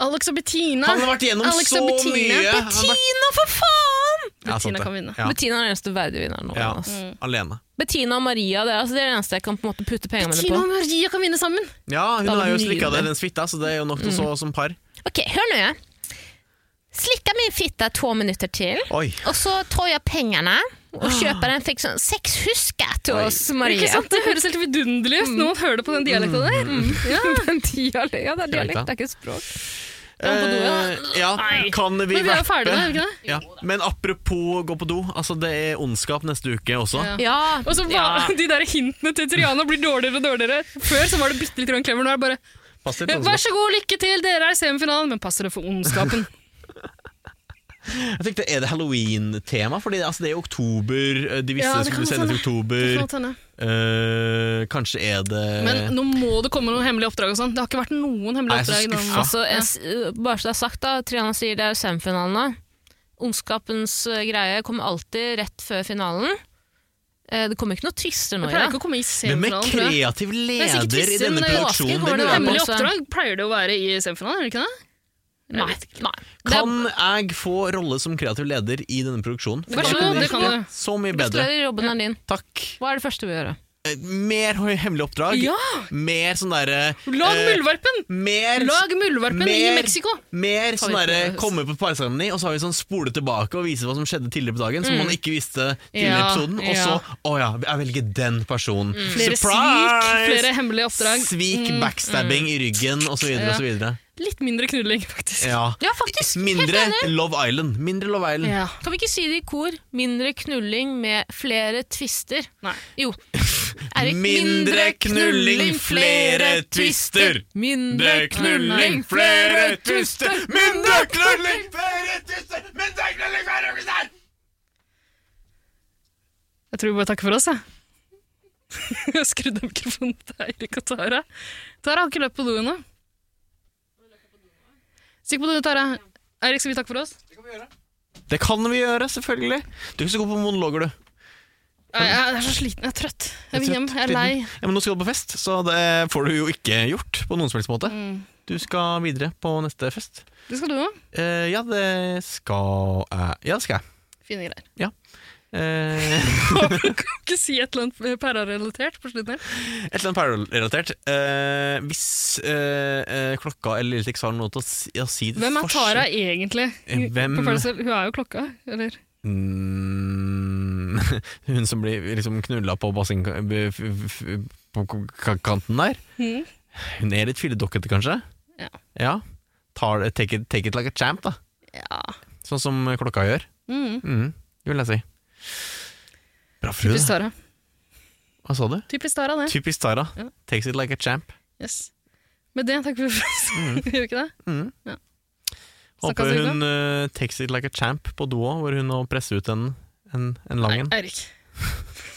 Alex og Bettina. Han har vært igjennom Alex så og Bettina. mye. Han har vært- Bettina, for faen! Ja, sant Bettina Mm. det. kan vinne. Ja. Bettina er den eneste verdige vinneren nå. Ja, ass. Alene. Bettina og Maria det er, altså, det er det eneste jeg kan på en måte putte pengene mine Bettina på. og Maria kan vinne sammen! Ja, hun Da var har jo det slikka nydelig. det den fitta, så det er jo nok til å så Mm. som par. Ok, hør nå. jeg. Slikka min fitte to minutter til, Oi. og så tar jeg pengene og kjøper en fikk sånn seks husker til Oi. oss, Ikke Maria. sant? Det høres helt vidunderlig Mm. ut. Noen hører det på den dialekta der. Mm. Ja. Men dialekt, ja, det er dialekt, Dialekt, det er ikke språk. på do, ja. Eh, ja, Nei. kan vi Men vi er jo verpe- ferdige nå, er vi ikke det? Ja. Men apropos gå på do, altså det er ondskap neste uke også. Ja. Ja, Og så var- (laughs) De der hintene til Triana blir dårligere og dårligere. Før så var det bitte litt grann clever. Nå er det bare Pass litt Vær ondskap. så god, lykke til, dere er i semifinalen, men pass dere for (laughs) ondskapen. Jeg tenkte, Er det halloween-tema? Fordi altså, det er jo oktober, eh, de visste Ja, det det skulle kan sendes i hende. oktober. Eh, kanskje er det Men nå må det komme noen hemmelige oppdrag og sånn. Det har ikke vært noen hemmelige Nei, så oppdrag. i den- skuffa. altså, jeg, s- øh, bare så det er sagt da, Triana sier det er semifinalen da. Ondskapens øh, greie kommer alltid rett før finalen. Eh, Det kommer ikke noe twister Det nå, pleier ja. ikke å komme i Hvem er semifinalen, tror jeg. kreativ er sikkert leder i Kristin, denne men det er Asker, produksjonen? kommer Det lurer jeg det på. Hemmelige også. oppdrag pleier det å være i semifinalen, gjør det ikke det? Nei, nei. Det er- Kan jeg få rolle som kreativ leder i denne produksjonen? Vær så god, det kan du. Så mye bedre. Gratulerer, jobben er din. Takk. Hva er det første vi gjør? da? Eh, Mer hemmelig oppdrag. Ja! Mer sånn derre Lag eh, muldvarpen! Mer, Lag muldvarpen i mer- Mexico! mer sånn Favorittene derre deres. komme på parseremoni, og så har vi sånn spole tilbake og vise hva som skjedde tidligere på dagen, som man ikke visste tidligere i Mm. Ja, episoden, og så ja. Mm. Å ja, jeg velger den personen. Flere svik, flere hemmelige oppdrag. Mm. Svik, backstabbing i ryggen, og så videre og så videre. Litt mindre knulling, faktisk. Ja. Ja, faktisk. Mindre Love Island. Mindre Love Island. Ja. Kan vi ikke si det i kor? Mindre knulling med flere twister. Nei. (laughs) Jo. Er det Mindre knulling, flere twister. Mindre knulling, flere twister. Mindre knulling, flere twister! Mindre knulling, flere twister! Jeg tror vi bare takker for oss, jeg. (laughs) Jeg skrudde av mikrofonen til Eirik og Tara. Tara har ikke løpt på do ennå. Stikk på do, Tara. Eirik, skal vi takke for oss? Det kan vi gjøre, selvfølgelig. Du kan ikke gå på monologer, du. Jeg, jeg er så sliten. Jeg er trøtt. Jeg vil hjem. Jeg er lei. Ja, men nå skal du på fest, så det får du jo ikke gjort på noen som helst måte. Mm. Du skal videre på neste fest. Det skal du òg. Eh, ja, det skal jeg. Ja, det skal jeg. Fine greier. Eh, (laughs) Kan ikke si et eller annet pærerelatert på slutten her. et eller annet Parallel-relatert. Eh, hvis eh, eh, klokka eller Liltex har noe til å si, å si til Hvem er forskjell- Tara egentlig? Eh, Hvem- På Paradise Hotel? Hun er jo klokka, eller? Mm, (laughs) hun som blir liksom knulla på bassengkanten der. Mhm. Hun er litt filledokkete, kanskje? Ja. Tar, det- take, it, take it like a champ, da. Ja. Sånn som klokka gjør. Mm. Mm, det vil jeg si. Bra frue. Typisk da. Tara. Hva sa du? Typisk Tara, det. Typisk Tara. Ja. Takes it like a champ. Yes. Med det takker vi for oss. (laughs) Gjør vi ikke det? Mm. Ja. Håper Snakkes vi hun eh, takes it like a champ på doa, hvor hun nå presser ut en, en, en lang en. Nei, Eirik. (laughs)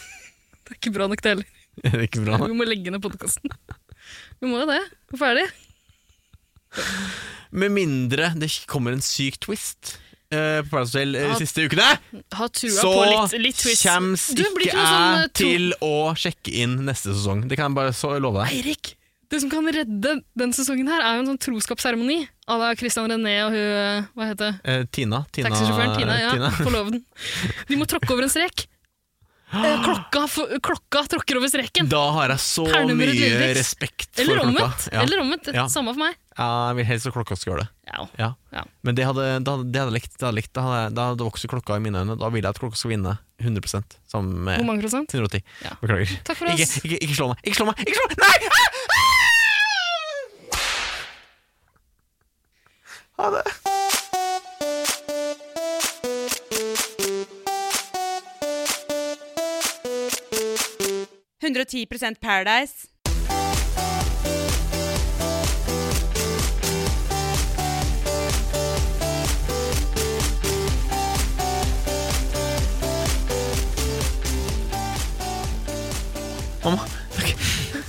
Det er ikke bra nok, det heller. Er (laughs) det ikke bra? Vi må legge ned podkasten. (laughs) Vi må jo det. Vi er ferdig. Med mindre det kommer en syk twist eh, på Paradise Hotel eh, de Ja. siste ukene, Ha trua så på litt, litt twist. kjems Du, blir ikke ikke noe sånn, eh, jeg to- til å sjekke inn neste sesong. Det kan jeg bare så love deg. Eirik! Det som kan redde den sesongen her, er jo en sånn troskapsseremoni à la Christian René og hun eh, Hva heter det? Eh, Tina. Tina Taxisjåføren Tina. Ja, (laughs) forloveden. De må tråkke over en strek. Eh, Klokka, for, klokka tråkker over streken. Da har jeg så Perlenummeret mye Lillex. respekt for Eller omvendt. klokka. Ja. Eller omvendt. Ja. Samme for meg. ja, jeg vil helst at klokka skal gjøre det. Ja. Ja. Ja. Men det hadde, det hadde, det hadde jeg likt. Det hadde jeg likt. Da, hadde, jeg- da hadde vokst klokka i mine øyne. Da ville jeg at klokka skal vinne 100 sammen Hvor med mange prosent? 110. Ja. Beklager. Takk for Ikke, oss. ikke, ikke slå meg! Ikke slå meg! Ikke slå meg! Nei! Ah! Ah! Ha det. Paradise. Mamma, takk.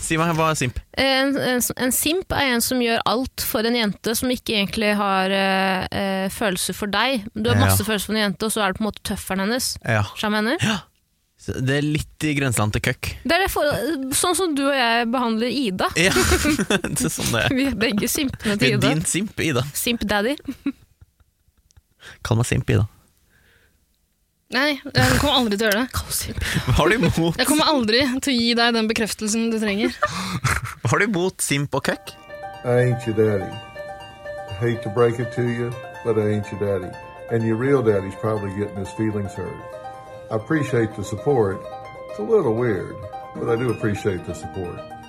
Si meg, hva er simp? En, en, en simp er en som gjør alt for en jente som ikke egentlig har eh, eh, følelser for deg. Du har Ja. masse følelser for en jente, og så er du på en måte tøfferen hennes. Ja. Skjønner du hva jeg mener? Det er litt i grenseland til køkk. Det er det for, sånn som du og jeg behandler Ida. Ja, (laughs) det er sånn det er. Vi er begge simpene Det til er Ida. din simp, Ida. Simp daddy. Kall meg simp, Ida. Nei, jeg kommer aldri til å gjøre det. Kall simp. Hva har du imot, Jeg kommer aldri til å gi deg den bekreftelsen du trenger. hva har du imot simp og køkk? I ain't your daddy. I hate to break it to you, but I ain't your daddy. And your real daddy's probably getting his feelings hurt. I appreciate the support. It's a little weird, but I do appreciate the support.